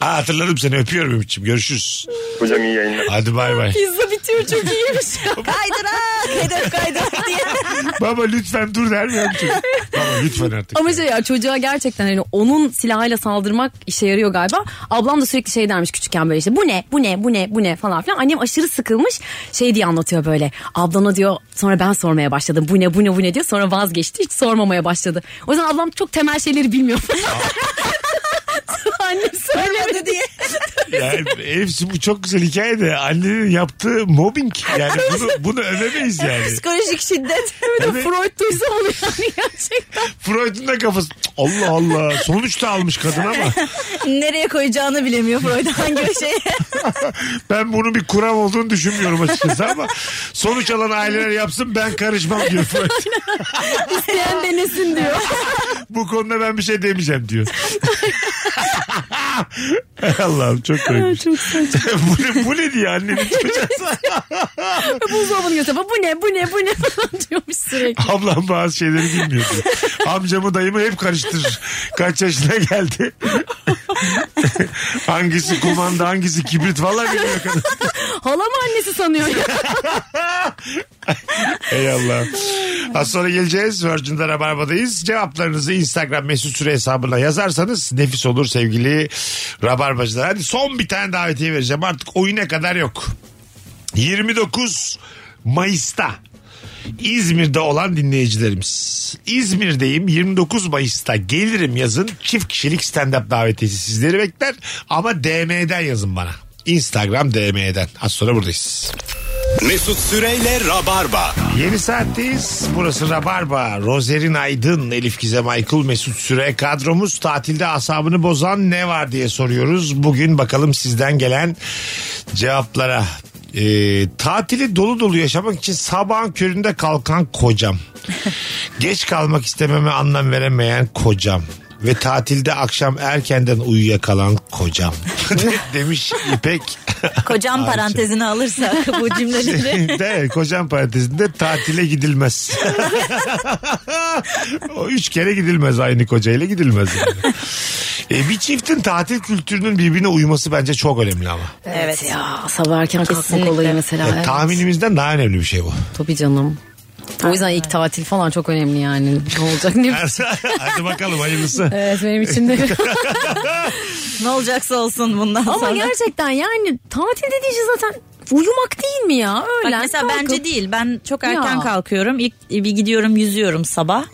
Speaker 3: Ha, hatırladım seni öpüyorum Ümit'ciğim görüşürüz.
Speaker 6: Hocam iyi yayınlar.
Speaker 3: Hadi bay bay.
Speaker 4: Pizza bitiyor çok iyiymiş.
Speaker 5: Kaydırak hedef kaydırak diye.
Speaker 3: Baba lütfen dur der mi ya bu çocuk? Baba lütfen artık.
Speaker 4: Ama şey ya çocuğa gerçekten hani onun silahıyla saldırmak işe yarıyor galiba. Ablam da sürekli şey dermiş küçükken böyle işte bu ne bu ne bu ne bu ne falan filan. Annem aşırı sıkılmış şey diye anlatıyor böyle. Ablana diyor sonra ben sormaya başladım bu ne bu ne bu ne diyor sonra vazgeçti hiç sormamaya başladı. O yüzden ablam çok temel şeyleri bilmiyor. Annem söylemedi diye.
Speaker 3: Yani hepsi bu çok güzel hikaye de annenin yaptığı mobbing. Yani bunu, bunu övemeyiz yani.
Speaker 5: Psikolojik şiddet.
Speaker 4: Bir de
Speaker 3: Evet.
Speaker 4: Freud duysa olur yani gerçekten.
Speaker 3: Freud'un da kafası Allah Allah sonuçta almış kadın ama
Speaker 5: Nereye koyacağını bilemiyor Freud hangi şeye.
Speaker 3: ben bunun bir kuram olduğunu düşünmüyorum açıkçası ama sonuç alan aileler yapsın ben karışmam diyor Freud.
Speaker 4: İsteyen denesin diyor.
Speaker 3: Bu konuda ben bir şey demeyeceğim diyor. Allah'ım çok koymuş.
Speaker 4: Çok saçma.
Speaker 3: bu, ne, bu ne diye annenin çocuğa?
Speaker 4: Buzdolabını götürüyor. Bu ne bu ne bu ne falan diyormuş sürekli.
Speaker 3: Ablam bazı şeyleri bilmiyor diyor. Amcamı dayımı hep karıştırır. Kaç yaşına geldi? hangisi kumanda hangisi kibrit vallahi bilmiyor kadın.
Speaker 4: Halam annesi sanıyor ya.
Speaker 3: Ey Allah. Az sonra geleceğiz. Virgin'de Rabarba'dayız. Cevaplarınızı Instagram mesut süre hesabına yazarsanız nefis olur sevgili Rabarbacılar. Hadi son bir tane davetiye vereceğim. Artık oyuna kadar yok. 29 Mayıs'ta İzmir'de olan dinleyicilerimiz. İzmir'deyim 29 Mayıs'ta gelirim yazın çift kişilik stand-up davetiyesi sizleri bekler ama DM'den yazın bana. Instagram DM'den. Az sonra buradayız.
Speaker 2: Mesut Süreyle Rabarba.
Speaker 3: Yeni saatteyiz. Burası Rabarba. Rozerin Aydın, Elif Gizem Aykul, Mesut Süre kadromuz. Tatilde asabını bozan ne var diye soruyoruz. Bugün bakalım sizden gelen cevaplara. Ee, tatili dolu dolu yaşamak için sabahın köründe kalkan kocam. Geç kalmak istememe anlam veremeyen kocam. Ve tatilde akşam erkenden uyuyakalan kocam. Demiş İpek.
Speaker 5: Kocam
Speaker 3: Ayşe.
Speaker 5: parantezini alırsak bu cümleleri.
Speaker 3: de kocam parantezinde tatile gidilmez. o üç kere gidilmez aynı kocayla gidilmez. yani. E, bir çiftin tatil kültürünün birbirine uyması bence çok önemli ama.
Speaker 5: Evet.
Speaker 4: Ya sabah erken kalkmak
Speaker 5: Kesinlikle.
Speaker 4: olayı mesela.
Speaker 3: Yani
Speaker 4: Evet.
Speaker 3: Tahminimizden daha önemli bir şey bu.
Speaker 4: Tabii canım. O yüzden ilk tatil falan çok önemli yani. Ne olacak ne
Speaker 3: Hadi bakalım hayırlısı.
Speaker 4: Evet benim için de.
Speaker 5: Ne olacaksa olsun bundan
Speaker 4: Ama
Speaker 5: sonra.
Speaker 4: gerçekten yani tatil dediğin şey zaten uyumak değil mi ya? Öğlen
Speaker 5: Bak mesela
Speaker 4: kalkıp-
Speaker 5: bence değil. Ben çok erken
Speaker 4: Ya.
Speaker 5: kalkıyorum. İlk bir gidiyorum yüzüyorum sabah.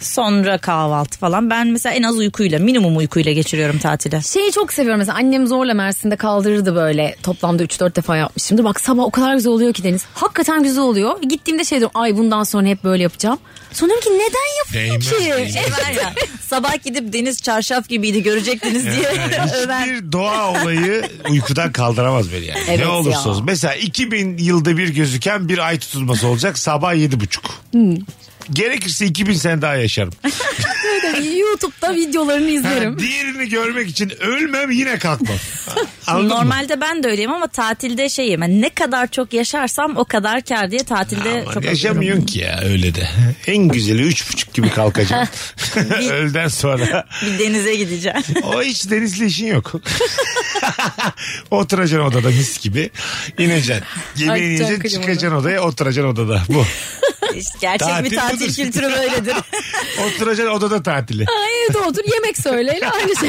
Speaker 5: Sonra kahvaltı falan. Ben mesela en az uykuyla, minimum uykuyla geçiriyorum tatile.
Speaker 4: Şeyi çok seviyorum mesela annem zorla Mersin'de kaldırırdı böyle toplamda 3-4 defa yapmışımdır. Bak sabah o kadar güzel oluyor ki Deniz. Hakikaten güzel oluyor. Gittiğimde şey diyorum ay bundan sonra hep böyle yapacağım. Sonra diyorum ki neden yapayım
Speaker 3: Değmez,
Speaker 4: ki?
Speaker 3: değmez.
Speaker 5: Şey var ya, sabah gidip deniz çarşaf gibiydi görecektiniz diye öven.
Speaker 3: Hiçbir doğa olayı uykudan kaldıramaz beni yani.
Speaker 4: Evet
Speaker 3: ne olursa
Speaker 4: ya.
Speaker 3: olsun. Mesela 2000 yılda bir gözüken bir ay tutulması olacak sabah 7.30.
Speaker 4: Hmm.
Speaker 3: Gerekirse 2000 sene daha yaşarım.
Speaker 4: Evet. YouTube'da videolarını
Speaker 3: Ha,
Speaker 4: izlerim.
Speaker 3: diğerini görmek için ölmem yine kalkmam. Anladın mı?
Speaker 5: Normalde ben de öyleyim ama tatilde şeyim. yani ne kadar çok yaşarsam o kadar kar diye tatilde
Speaker 3: Aman
Speaker 5: çok
Speaker 3: yaşamıyorsun ki ya öyle de. En güzeli üç buçuk gibi kalkacağım. Öğleden sonra.
Speaker 5: Bir denize gideceğim.
Speaker 3: O hiç denizli işin yok. oturacaksın odada mis gibi. İneceksin.
Speaker 4: Ay,
Speaker 3: Yemeğini
Speaker 4: çok
Speaker 3: yiyeceksin
Speaker 4: klimalı.
Speaker 3: çıkacaksın odaya oturacaksın odada. Bu.
Speaker 5: İşte gerçek
Speaker 3: Tatil
Speaker 5: bir tatil
Speaker 3: budur.
Speaker 5: kültürü böyledir.
Speaker 3: Oturacaksın odada tatili.
Speaker 4: Ha, evde otur yemek söyleyle aynı şey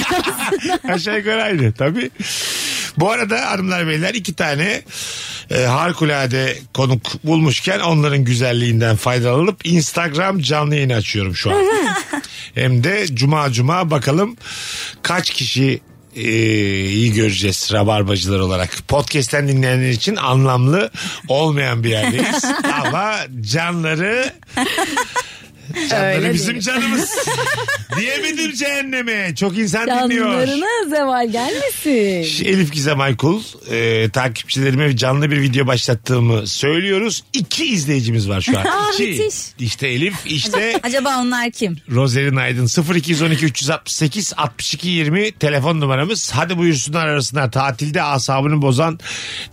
Speaker 4: aslında.
Speaker 3: Aşağı yukarı aynı tabii. Bu arada hanımlar beyler iki tane e, harikulade konuk bulmuşken onların güzelliğinden faydalanıp Instagram canlı yayını açıyorum şu an. Hem de cuma cuma bakalım kaç kişi e, iyi göreceğiz rabarbacılar olarak. Podcast'ten dinleyenler için anlamlı olmayan bir yerdeyiz. Ama canları canları
Speaker 4: Öyle
Speaker 3: bizim
Speaker 4: değil.
Speaker 3: canımız. Diyemedim cehenneme. Çok insan dinliyor.
Speaker 4: Canlarına zeval gelmesin.
Speaker 3: Elif Gizem Aykul e, takipçilerime canlı bir video başlattığımı söylüyoruz. İki izleyicimiz var şu an.
Speaker 4: Aa,
Speaker 3: İki.
Speaker 4: müthiş.
Speaker 3: İşte Elif işte
Speaker 5: Acaba onlar kim?
Speaker 3: Rozerin Aydın 0212 368 62 20 telefon numaramız. Hadi buyursunlar arasına tatilde asabını bozan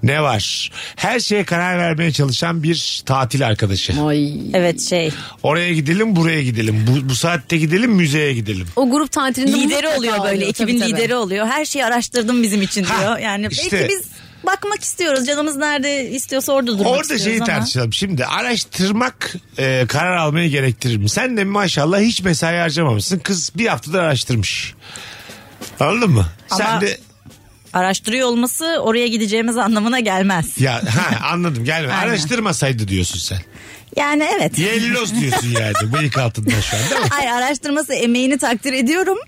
Speaker 3: ne var? Her şeye karar vermeye çalışan bir tatil arkadaşı.
Speaker 4: Ay.
Speaker 5: Evet şey.
Speaker 3: Oraya gidelim buraya gidelim. Bu, bu saatte gidelim müzeye gidelim.
Speaker 4: O grup tatilinde
Speaker 5: lideri
Speaker 4: mutlaka
Speaker 5: oluyor böyle
Speaker 4: tabii,
Speaker 5: ekibin
Speaker 4: tabii.
Speaker 5: lideri oluyor. Her şeyi araştırdım bizim için
Speaker 3: Ha,
Speaker 5: diyor. Yani
Speaker 3: işte.
Speaker 5: belki biz bakmak istiyoruz. Canımız nerede istiyorsa orada durmak
Speaker 3: Orada
Speaker 5: istiyoruz
Speaker 3: şeyi
Speaker 5: ama.
Speaker 3: tartışalım. Şimdi araştırmak e, karar almayı gerektirir mi? Sen de maşallah hiç mesai harcamamışsın. Kız bir haftada araştırmış. Anladın mı? Sen
Speaker 5: Ama-
Speaker 3: de
Speaker 5: Araştırıyor olması oraya gideceğimiz anlamına gelmez.
Speaker 3: ya ha anladım gelme.
Speaker 5: Aynen.
Speaker 3: Araştırmasaydı diyorsun sen.
Speaker 5: Yani evet.
Speaker 3: Yellos diyorsun yani bıyık altında şu an değil mi?
Speaker 5: Hayır araştırması emeğini takdir ediyorum.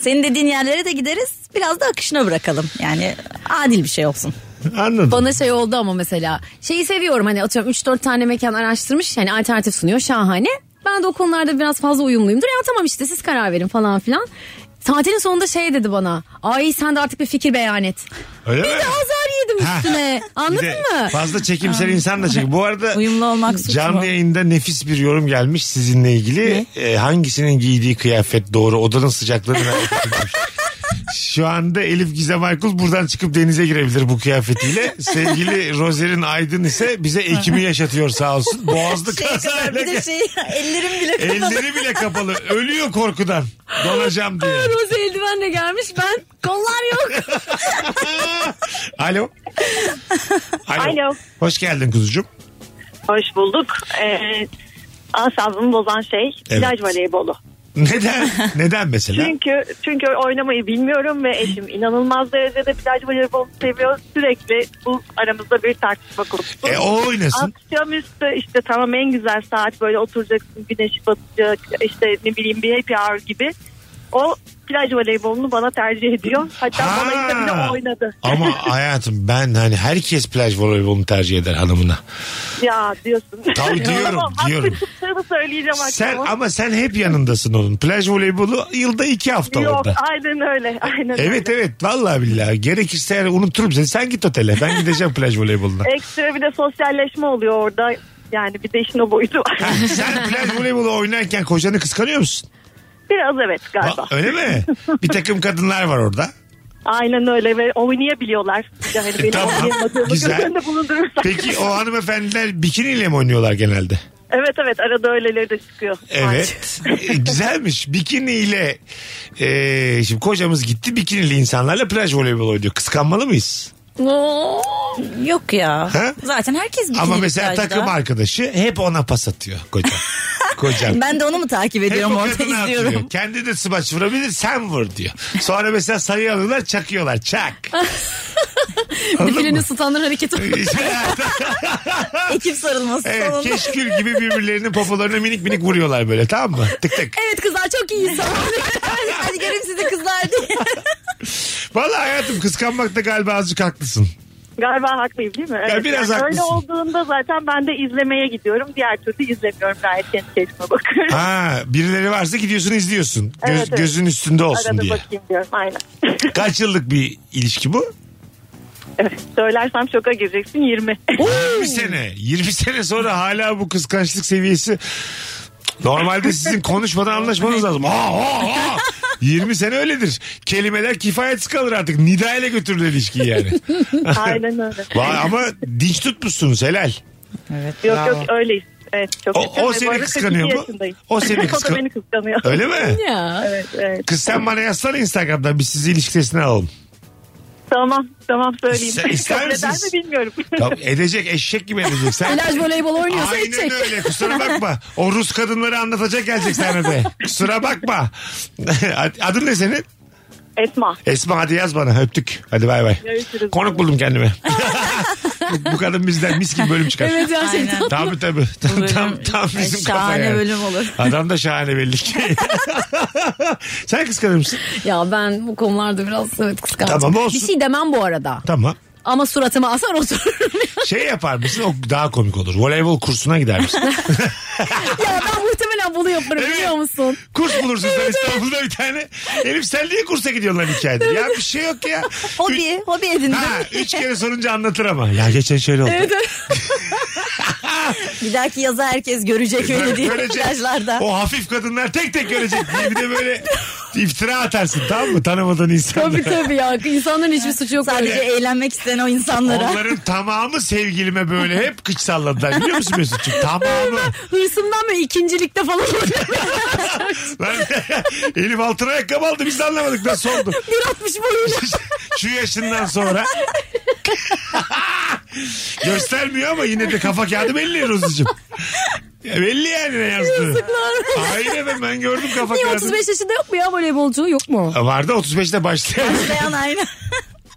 Speaker 5: Senin dediğin yerlere de gideriz. Biraz da akışına bırakalım. Yani adil bir şey olsun.
Speaker 3: Anladım.
Speaker 4: Bana şey oldu ama mesela şeyi seviyorum hani atıyorum 3-4 tane mekan araştırmış yani alternatif sunuyor şahane. Ben de o konularda biraz fazla uyumluyumdur. Ya tamam işte siz karar verin falan filan. Tatilin sonunda şey dedi bana. Ay sen de artık bir fikir beyan et.
Speaker 3: Öyle mi?
Speaker 4: Bir de azar yedim
Speaker 3: Ha.
Speaker 4: üstüne. Anladın
Speaker 3: Bir de
Speaker 4: mı?
Speaker 3: Fazla çekimsel insan da çek. Bu arada
Speaker 5: Uyumlu olmak suç
Speaker 3: canlı
Speaker 5: mu?
Speaker 3: yayında nefis bir yorum gelmiş sizinle ilgili. Ee, hangisinin giydiği kıyafet doğru? Odanın sıcaklığını merak ettim. Şu anda Elif Gizem Aykul buradan çıkıp denize girebilir bu kıyafetiyle. Sevgili Rozer'in Aydın ise bize ekimi yaşatıyor sağ olsun. Boğazlı
Speaker 5: Şey kadar
Speaker 3: kazayla
Speaker 5: bir de şey ellerim bile
Speaker 3: E-
Speaker 5: kapalı.
Speaker 3: Elleri bile kapalı. Ölüyor korkudan. Donacağım diye.
Speaker 4: Roze eldivenle gelmiş ben kollar yok.
Speaker 3: Alo. Alo.
Speaker 9: Alo.
Speaker 3: Hoş geldin kuzucuğum.
Speaker 9: Hoş bulduk. Ee, asabımı bozan şey
Speaker 3: Evet.
Speaker 9: plaj voleybolu.
Speaker 3: Neden? Neden mesela?
Speaker 9: Çünkü çünkü oynamayı bilmiyorum ve eşim inanılmaz derecede plaj voleybolu seviyor. Sürekli bu aramızda bir tartışma konusu.
Speaker 3: E o oynasın.
Speaker 9: Akşamüstü işte tamam en güzel saat böyle oturacaksın güneş batacak işte ne bileyim bir happy hour gibi. O plaj voleybolunu bana tercih ediyor. Hatta
Speaker 3: Ha.
Speaker 9: bana işte bile oynadı.
Speaker 3: Ama hayatım ben hani herkes plaj voleybolunu tercih eder hanımına.
Speaker 9: ya diyorsun.
Speaker 3: Tabii diyorum,
Speaker 9: Ama haklı
Speaker 3: diyorum.
Speaker 9: çıktığını söyleyeceğim
Speaker 3: Sen
Speaker 9: akşama.
Speaker 3: ama sen hep yanındasın onun. Plaj voleybolu yılda iki hafta
Speaker 9: Yok
Speaker 3: orada.
Speaker 9: aynen öyle. Aynen
Speaker 3: Evet
Speaker 9: öyle.
Speaker 3: evet vallahi billahi gerekirse eğer unuturum seni sen git otele ben gideceğim plaj voleyboluna.
Speaker 9: Ekstra bir de sosyalleşme oluyor orada. Yani bir de işin o boyutu var.
Speaker 3: sen plaj voleybolu oynarken kocanı kıskanıyor musun?
Speaker 9: Biraz evet galiba.
Speaker 3: Va- öyle mi? Bir takım kadınlar var orada.
Speaker 9: Aynen öyle ve oynayabiliyorlar. Yani benim
Speaker 3: Tamam,
Speaker 9: oynayamadığımı
Speaker 3: güzel.
Speaker 9: göz önünde bulundurursak.
Speaker 3: Peki o hanımefendiler bikiniyle mi oynuyorlar genelde?
Speaker 9: Evet evet arada öyleleri de çıkıyor.
Speaker 3: Evet. E, Güzelmiş. Bikiniyle e, şimdi kocamız gitti bikinili insanlarla plaj voleybolu oynuyor. Kıskanmalı mıyız?
Speaker 5: Yok ya.
Speaker 3: Ha?
Speaker 5: Zaten herkes bir
Speaker 3: Ama mesela takım arkadaşı hep ona pas atıyor koca. Kocam.
Speaker 5: Ben de onu mu takip
Speaker 3: Hep o
Speaker 5: ediyorum orada
Speaker 3: kadına
Speaker 5: izliyorum.
Speaker 3: atıyor. Kendi de smaç vurabilir sen vur diyor. Sonra mesela sayı alıyorlar çakıyorlar çak.
Speaker 4: Dilini tutanların hareketi.
Speaker 5: Ekip sarılması
Speaker 3: evet,
Speaker 5: sonunda.
Speaker 3: keşkül gibi birbirlerinin popolarına minik minik vuruyorlar böyle tamam mı? Tık tık.
Speaker 4: evet kızlar çok iyi insan.
Speaker 5: Hadi göreyim sizi kızlar diye.
Speaker 3: Vallahi hayatım kıskanmakta galiba azıcık haklısın.
Speaker 9: Galiba haklıyım değil mi? Evet,
Speaker 3: biraz
Speaker 9: yani öyle
Speaker 3: haklısın.
Speaker 9: olduğunda zaten ben de izlemeye gidiyorum. Diğer türlü izlemiyorum. Gayet kendi keyfime bakıyorum.
Speaker 3: Ha, birileri varsa gidiyorsun izliyorsun. Göz-
Speaker 9: Evet, evet.
Speaker 3: Gözün üstünde olsun
Speaker 9: Arada
Speaker 3: diye.
Speaker 9: bakayım diyorum aynen.
Speaker 3: Kaç yıllık bir ilişki bu?
Speaker 9: evet, söylersem şoka gireceksin 20.
Speaker 3: 20 sene. 20 sene sonra hala bu kıskançlık seviyesi normalde sizin konuşmadan anlaşmanız lazım. Ha, ha, ha. 20 sene öyledir. Kelimeler kifayetsiz kalır artık. Nida ile götürür ilişkiyi yani.
Speaker 9: aynen öyle.
Speaker 3: Vay, ama dinç tutmuşsunuz helal.
Speaker 9: Yok yok öyleyiz. Evet, çok
Speaker 3: O-
Speaker 9: yakın
Speaker 3: o
Speaker 9: ve
Speaker 3: seni
Speaker 9: bu arada
Speaker 3: kıskanıyor
Speaker 9: 42
Speaker 3: mu?
Speaker 9: yaşındayım.
Speaker 3: O seni
Speaker 9: o
Speaker 3: kıskan-
Speaker 9: da beni kıskanıyor.
Speaker 3: Öyle mi?
Speaker 4: ya.
Speaker 9: Evet, evet.
Speaker 3: Kız sen bana yazsana Instagram'dan biz sizi ilişki testine alalım.
Speaker 9: Tamam tamam söyleyeyim.
Speaker 3: İster- ister
Speaker 9: Kabul eder
Speaker 3: misiniz?
Speaker 9: mi bilmiyorum.
Speaker 3: Ya edecek eşek gibi edecek. Sen...
Speaker 4: Plaj voleybol oynuyorsa
Speaker 3: Aynen
Speaker 4: edecek.
Speaker 3: öyle kusura bakma. O Rus kadınları anlatacak gelecek sahnede. Kusura bakma. Adın ne senin?
Speaker 9: Esma.
Speaker 3: Esma hadi yaz bana öptük. Hadi bay bay.
Speaker 9: Görüşürüz.
Speaker 3: Konuk buldum kendime. bu, bu kadın bizden mis gibi bölüm çıkar.
Speaker 4: Evet şey- gerçekten.
Speaker 3: Tabii tabii. Tam, tam, tam
Speaker 5: Ay,
Speaker 3: bizim kafa
Speaker 5: şahane
Speaker 3: yani.
Speaker 5: bölüm olur.
Speaker 3: Adam da şahane belli ki. Sen kıskanır mısın?
Speaker 4: Ya ben bu konularda biraz evet kıskançım.
Speaker 3: Tamam, olsun.
Speaker 4: Bir şey demem bu arada.
Speaker 3: Tamam.
Speaker 4: Ama suratıma asar otururum.
Speaker 3: Şey yapar mısın? O daha komik olur. Voleybol kursuna gider misin?
Speaker 4: ya ben muhtemelen bunu yaparım
Speaker 3: Evet.
Speaker 4: biliyor musun?
Speaker 3: Kurs bulursun sen İstanbul'da bir tane. Elif sen niye kursa gidiyorsun lan hikayede? Ya bir şey yok ya. Üç-
Speaker 5: Hobi, hobi edindim.
Speaker 3: Ha, üç kere sorunca anlatır ama. Ya geçen şöyle oldu.
Speaker 5: Bir dahaki yaza herkes görecek öyle değil.
Speaker 3: Görecek.
Speaker 5: Plajlarda.
Speaker 3: O hafif kadınlar tek tek görecek diye bir de böyle iftira atarsın tamam mı? Tanımadığın insanlara.
Speaker 4: Tabii tabii ya. İnsanların hiçbir suçu yok.
Speaker 5: Sadece eğlenmek isteyen o insanlara.
Speaker 3: Onların tamamı sevgilime böyle hep kıç salladılar biliyor musun Mesut'cum? Tamamı.
Speaker 4: Hırsımdan böyle ikincilikte falan
Speaker 3: Lan, Elif altına ayakkabı aldı biz de anlamadık nasıl oldu.
Speaker 4: bir atmış boyuyla.
Speaker 3: Şu yaşından sonra. Göstermiyor ama yine de kafa kağıdı belli Rozu'cum. Ya belli yani ne yazdığı. Hayır efendim ben gördüm kafa
Speaker 4: Niye
Speaker 3: kağıdını.
Speaker 4: 35 yaşında yok mu ya voleybolcu? Yok mu?
Speaker 3: Vardı 35'te başlayan.
Speaker 5: Başlayan aynı.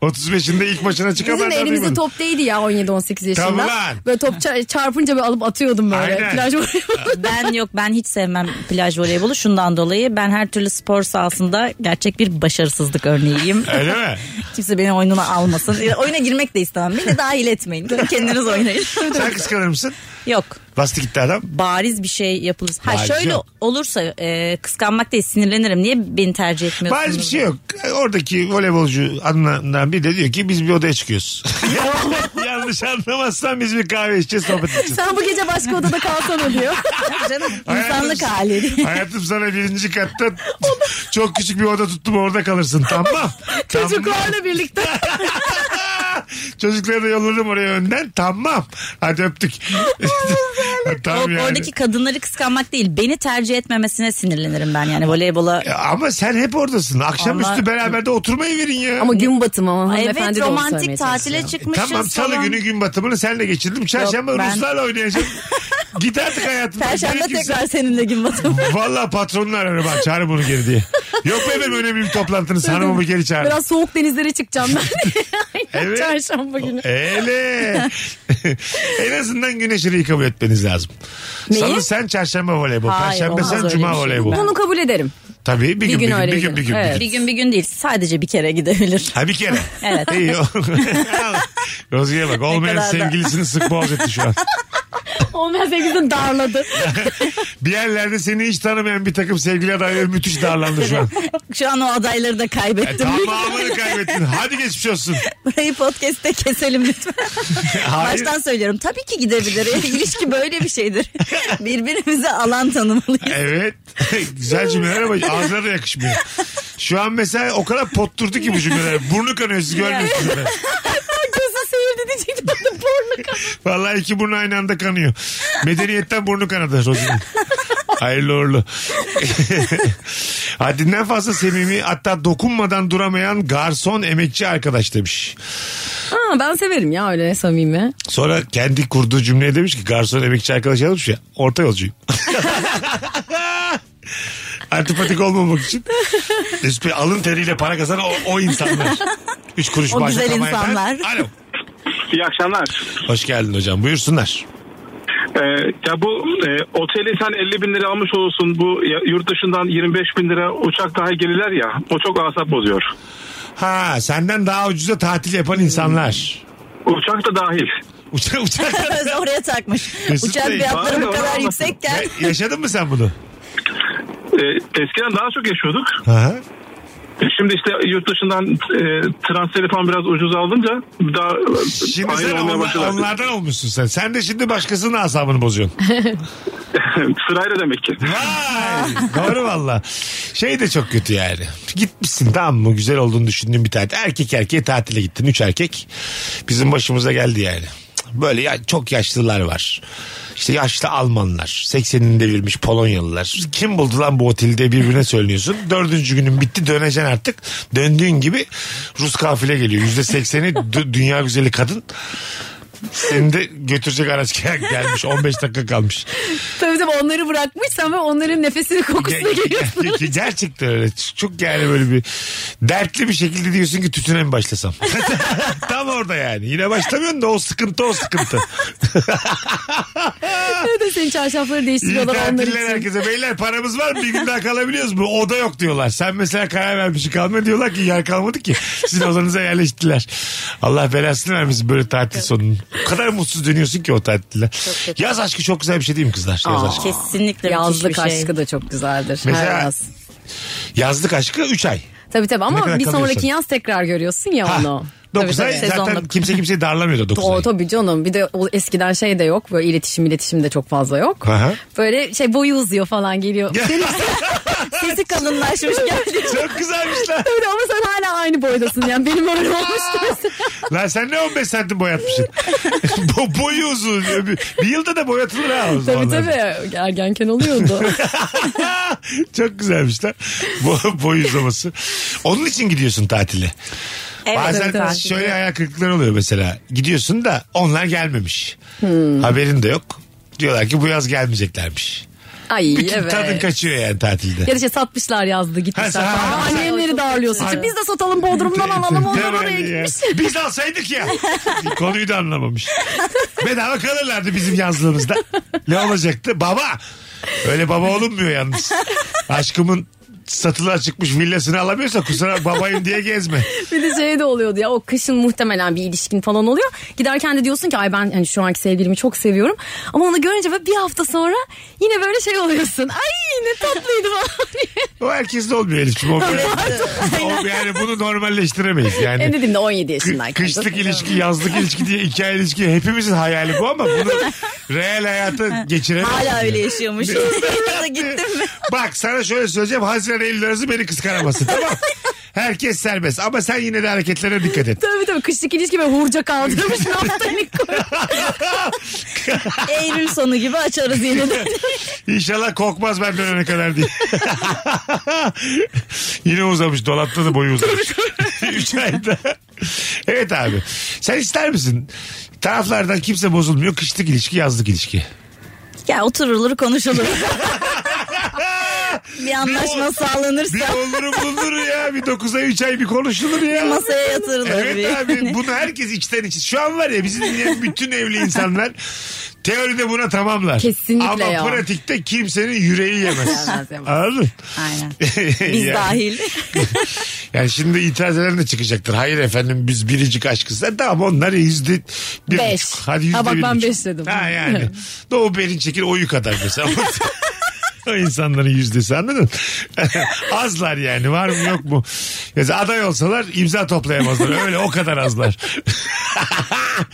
Speaker 3: 35'inde ilk maçına çıkan
Speaker 4: Bizim de
Speaker 3: benden
Speaker 4: elimizde
Speaker 3: duymadım.
Speaker 4: top değildi ya 17-18 yaşında.
Speaker 3: Tabii lan.
Speaker 4: Böyle top ça- çarpınca böyle alıp atıyordum böyle.
Speaker 3: Aynen.
Speaker 4: Plaj voleybolu.
Speaker 5: Ben yok ben hiç sevmem plaj voleybolu şundan dolayı ben her türlü spor sahasında gerçek bir başarısızlık örneğiyim.
Speaker 3: Öyle mi?
Speaker 5: Kimse beni oyununa almasın. Ya, Oyuna girmek de istemem. Beni dahil etmeyin. Kendiniz oynayın.
Speaker 3: Sen kıskanır mısın?
Speaker 5: yok.
Speaker 3: Bastı gitti adam.
Speaker 5: Bariz bir şey yapılır. Ha
Speaker 3: Bariz
Speaker 5: şöyle
Speaker 3: yok.
Speaker 5: olursa e, kıskanmak değil sinirlenirim. Niye beni tercih etmiyorsunuz?
Speaker 3: Bazı bir şey yok. Oradaki voleybolcu adından biri de diyor ki biz bir odaya çıkıyoruz. Yanlış anlamazsan biz bir kahve içeceğiz sohbet edeceğiz.
Speaker 4: Sen bu gece başka odada kalsana diyor.
Speaker 5: Yok canım.
Speaker 3: Hayatım-
Speaker 5: İnsanlık hali.
Speaker 3: Hayatım sana birinci katta çok küçük bir oda tuttum orada kalırsın tamam. Tamam.
Speaker 4: Çocuklarla birlikte.
Speaker 3: Çocukları da yolladım oraya önden tamam. Hadi öptük.
Speaker 5: O-
Speaker 3: tamam yani.
Speaker 5: Oradaki kadınları kıskanmak değil. Beni tercih etmemesine sinirlenirim ben yani voleybola.
Speaker 3: Ya E, Ama sen hep oradasın. Akşamüstü
Speaker 5: Vallahi-
Speaker 3: beraber de oturmayı verin ya.
Speaker 4: Ama gün batımı ama hanımefendi
Speaker 5: Evet
Speaker 4: de onu söylemeye
Speaker 5: romantik
Speaker 4: çalışıyor. E,
Speaker 5: tatile çıkmışız
Speaker 3: Tamam salı
Speaker 5: falan.
Speaker 3: günü gün batımını senle geçirdim. Çarşamba
Speaker 5: Yok, ben-
Speaker 3: Ruslarla oynayacağım. Git artık hayatımdan.
Speaker 5: Perşembe
Speaker 3: Gerekirse-
Speaker 5: tekrar seninle gün batımı.
Speaker 3: Valla patronunu ararım ha çağır bunu geri diye. Yok be benim önemli bir toplantınız hanımımı geri çağır.
Speaker 4: Biraz soğuk denizlere çıkacağım ben.
Speaker 3: Evet.
Speaker 4: Çarşamba günü.
Speaker 3: Öyle. en azından güneşini yıkabul etmeniz lazım.
Speaker 4: Neyi?
Speaker 3: Salı sen çarşamba voleybol.
Speaker 5: Hayır,
Speaker 3: Perşembe
Speaker 5: olmaz
Speaker 3: sen
Speaker 5: öyle
Speaker 3: cuma
Speaker 5: bir şey.
Speaker 3: voleybol.
Speaker 4: Bunu kabul ederim.
Speaker 3: Tabii bir, gün, bir gün
Speaker 4: öyle
Speaker 3: bir gün bir gün.
Speaker 4: Evet.
Speaker 3: Bir gün.
Speaker 5: bir gün bir gün değil sadece bir kere gidebilir.
Speaker 3: Ha bir kere.
Speaker 5: Evet.
Speaker 3: İyi. o- Rozge'ye bak olmayan
Speaker 5: kadar da-
Speaker 3: sevgilisini sık boğaz etti şu an.
Speaker 4: Olmaz sevgilisini darladı.
Speaker 3: Bir yerlerde seni hiç tanımayan bir takım sevgili adayları müthiş darlandı şu an.
Speaker 5: Şu an o adayları da
Speaker 3: E,
Speaker 5: kaybettim.
Speaker 3: tamamını kaybettin. Hadi geçmiş olsun.
Speaker 5: Burayı podcast'te keselim lütfen.
Speaker 3: Hayır.
Speaker 5: Baştan söylüyorum. Tabii ki gidebilir. İlişki böyle bir şeydir. Birbirimize alan tanımalıyız.
Speaker 3: Evet. Güzel cümleler ama ağzına da yakışmıyor. Şu an mesela o kadar potturdu ki bu cümleler. Burnu kanıyor siz görmüyorsunuz. ben.
Speaker 5: Gözü seyirdi diyecektim.
Speaker 3: Vallahi iki burnu aynı anda kanıyor. Medeniyetten burnu kanadı Rozi'nin. Hayırlı uğurlu. Haddinden fazla sevimi hatta dokunmadan duramayan garson emekçi arkadaş demiş.
Speaker 4: Ha, ben severim ya öyle samimi.
Speaker 3: Sonra kendi kurduğu cümleye demiş ki garson emekçi arkadaş yazmış ya orta yolcuyum. Antipatik olmamak için. Üstü alın teriyle para kazanan o, o insanlar. Üç kuruş
Speaker 5: O
Speaker 3: maaşa
Speaker 5: güzel
Speaker 3: tamam eden.
Speaker 5: insanlar.
Speaker 3: Alo.
Speaker 7: İyi akşamlar.
Speaker 3: Hoş geldin hocam buyursunlar.
Speaker 7: Ee, ya bu e, oteli sen 50 bin lira almış olsun bu ya- yurt dışından 25 bin lira uçak daha gelirler ya o çok asap bozuyor.
Speaker 3: Ha senden daha ucuza tatil yapan insanlar.
Speaker 7: Uçak da dahil.
Speaker 3: Uçak uçak.
Speaker 5: Gözü oraya takmış.
Speaker 3: Mesut
Speaker 5: Uçak
Speaker 3: Bey,
Speaker 5: fiyatları bu
Speaker 7: pardon,
Speaker 5: kadar
Speaker 7: pardon.
Speaker 5: yüksekken.
Speaker 3: Ya- yaşadın mı sen bunu?
Speaker 7: Ee, eskiden daha çok yaşıyorduk.
Speaker 3: Aha.
Speaker 7: E, Şimdi işte yurt dışından e, transferi falan biraz ucuz aldınca daha
Speaker 3: Şimdi
Speaker 7: aynı
Speaker 3: sen
Speaker 7: olmaya
Speaker 3: onla-
Speaker 7: başladı.
Speaker 3: onlardan olmuşsun sen. Sen de şimdi başkasının asabını bozuyorsun.
Speaker 7: Sırayla demek ki.
Speaker 3: Vay. Doğru valla. Şey de çok kötü yani. Gitmişsin tamam mı? Güzel olduğunu düşündüğün bir tatil. Erkek erkeğe tatile gittin. Üç erkek. Bizim başımıza geldi yani. Böyle ya, çok yaşlılar var. İşte yaşlı Almanlar. 80'ini devirmiş Polonyalılar. Kim buldu lan bu otelde birbirine söylüyorsun. Dördüncü günün bitti döneceksin artık. Döndüğün gibi Rus kafile geliyor. Yüzde sekseni dünya güzeli kadın. Seni de götürecek araç gelmiş. 15 dakika kalmış.
Speaker 4: Tabii tabii onları bırakmış sen ve onların nefesini kokusuna
Speaker 3: Ge-
Speaker 4: geliyorsun.
Speaker 3: ge- ge- Gerçekten öyle. Çok yani böyle bir dertli bir şekilde diyorsun ki tütüne mi başlasam? Tam orada yani. Yine başlamıyorsun da o sıkıntı o sıkıntı.
Speaker 4: Öyle de senin çarşafları
Speaker 3: İyi
Speaker 4: değiştiriyorlar onlar
Speaker 3: tatiller
Speaker 4: için.
Speaker 3: herkese. Beyler paramız var mı? Bir gün daha kalabiliyoruz mu? Oda yok diyorlar. Sen mesela karar vermişsin kalma diyorlar ki yer kalmadı ki. Siz odanıza yerleştiler. Allah belasını vermesin böyle tatil sonunu. O kadar mutsuz dönüyorsun ki o tatilde. Yaz aşkı çok güzel bir şey değil mi kızlar? Yaz aşkı.
Speaker 5: Kesinlikle
Speaker 4: Yazlık
Speaker 5: müthiş bir şey.
Speaker 4: aşkı da çok güzeldir.
Speaker 3: Mesela-
Speaker 4: Her yaz.
Speaker 3: Yazlık aşkı 3 ay.
Speaker 4: Tabii tabii
Speaker 3: Ne kadar
Speaker 4: ama bir
Speaker 3: kalıyorsun?
Speaker 4: sonraki yaz tekrar görüyorsun ya onu. Tabii,
Speaker 3: 9 ay
Speaker 4: tabii.
Speaker 3: zaten
Speaker 5: Sezonluk.
Speaker 3: kimse kimseyi darlamıyordu 9 ay.
Speaker 4: O tabii canım. Bir de o eskiden şey de yok. Böyle iletişim iletişim de çok fazla yok.
Speaker 3: Aha.
Speaker 4: Böyle şey boyu uzuyor falan geliyor. Senin
Speaker 5: Sesi kalınlaşmış geldi.
Speaker 3: Çok güzelmişler.
Speaker 4: öyle ama sen hala aynı boydasın. Yani benim öyle olmuştu mesela.
Speaker 3: Lan sen ne 15 santim boyatmışsın? Bo boyu uzun. Öbür- Bir yılda da boyatılır ha. o
Speaker 4: Tabii
Speaker 3: zamanlar.
Speaker 4: tabii. Ergenken oluyordu.
Speaker 3: Çok güzelmişler. Bo boy uzaması. Onun için gidiyorsun tatile. Bazen
Speaker 4: evet, evet.
Speaker 3: şöyle hayal kırıklıkları oluyor mesela. Gidiyorsun da onlar gelmemiş.
Speaker 4: Hmm.
Speaker 3: Haberin de yok. Diyorlar ki bu yaz gelmeyeceklermiş.
Speaker 4: Ay
Speaker 3: Bütün
Speaker 4: evet.
Speaker 3: Tadın kaçıyor yani tatilde.
Speaker 4: Ya da şey satmışlar yazdı
Speaker 3: Ha,
Speaker 4: gitmişler.
Speaker 3: sen-
Speaker 4: falan.
Speaker 3: ha, sen-
Speaker 4: Annemlere Erkekleri de ağırlıyorsun. Şimdi
Speaker 3: Aynen.
Speaker 4: biz de satalım Bodrum'dan alalım. Onlar
Speaker 3: Temelli
Speaker 4: oraya
Speaker 3: ya.
Speaker 4: gitmiş.
Speaker 3: Biz alsaydık ya. Konuyu da anlamamış. Bedava kalırlardı bizim yazlığımızda. Ne olacaktı? Baba. Öyle baba olunmuyor yalnız. Aşkımın satılığa çıkmış villasını alamıyorsa kusura babayım diye gezme.
Speaker 4: Bir de şey de oluyordu ya o kışın muhtemelen bir ilişkin falan oluyor. Giderken de diyorsun ki ay ben hani şu anki sevgilimi çok seviyorum. Ama onu görünce böyle bir hafta sonra yine böyle şey oluyorsun. Ay ne tatlıydı falan diye.
Speaker 3: O herkes de olmuyor Elif'ciğim. O böyle- o yani bunu normalleştiremeyiz yani.
Speaker 4: En dediğimde 17 yaşındayken.
Speaker 3: Kışlık ilişki, yazlık ilişki diye iki ay ilişki hepimizin hayali bu ama bunu reel hayata geçiremeyiz.
Speaker 5: Hala öyle yaşıyormuş. Yılda gittim mi?
Speaker 3: Bak sana şöyle söyleyeceğim. Haziran Eylül arası beni kıskanamasın tamam Herkes serbest ama sen yine de hareketlere dikkat et.
Speaker 4: Tabii tabii kışlık ilişki böyle hurca kaldırmış naftanik koymuş.
Speaker 5: Eylül sonu gibi açarız yine de.
Speaker 3: İnşallah kokmaz ben dönene kadar diye. yine uzamış dolapta da boyu uzamış. Üç ayda. Evet abi. Sen ister misin? Taraflardan kimse bozulmuyor. Kışlık ilişki, yazlık ilişki.
Speaker 5: ya oturulur konuşulur. bir anlaşma
Speaker 3: Bir
Speaker 5: sağlanırsa
Speaker 3: olur bulunur ya. Bir 9'a 3 ay bir konuşulur ya.
Speaker 5: masaya yatırılır. bir.
Speaker 3: Evet abi bunu herkes içten içe. Şu an var ya bizi dinleyen bütün evli insanlar teoride buna tamamlar.
Speaker 4: Kesinlikle
Speaker 3: Ama
Speaker 4: ya.
Speaker 3: pratikte kimsenin yüreği yemez.
Speaker 4: Yemez, yemez.
Speaker 3: Anladın?
Speaker 5: Aynen. Biz
Speaker 3: Yani-
Speaker 5: dahil.
Speaker 3: Yani şimdi itiraz eden de çıkacaktır. Hayır efendim biz biricik aşkız. E tamam onlar yüzde bir
Speaker 4: Beş.
Speaker 3: buçuk. Hadi yüzde
Speaker 4: Ha bak
Speaker 3: bir
Speaker 4: ben
Speaker 3: buçuk.
Speaker 4: beş dedim.
Speaker 3: Ha yani. Doğu Perinçek'in oyu kadar mesela. o insanların yüzdesi anladın mı? azlar yani var mı yok mu? Mesela aday olsalar imza toplayamazlar. Öyle o kadar azlar.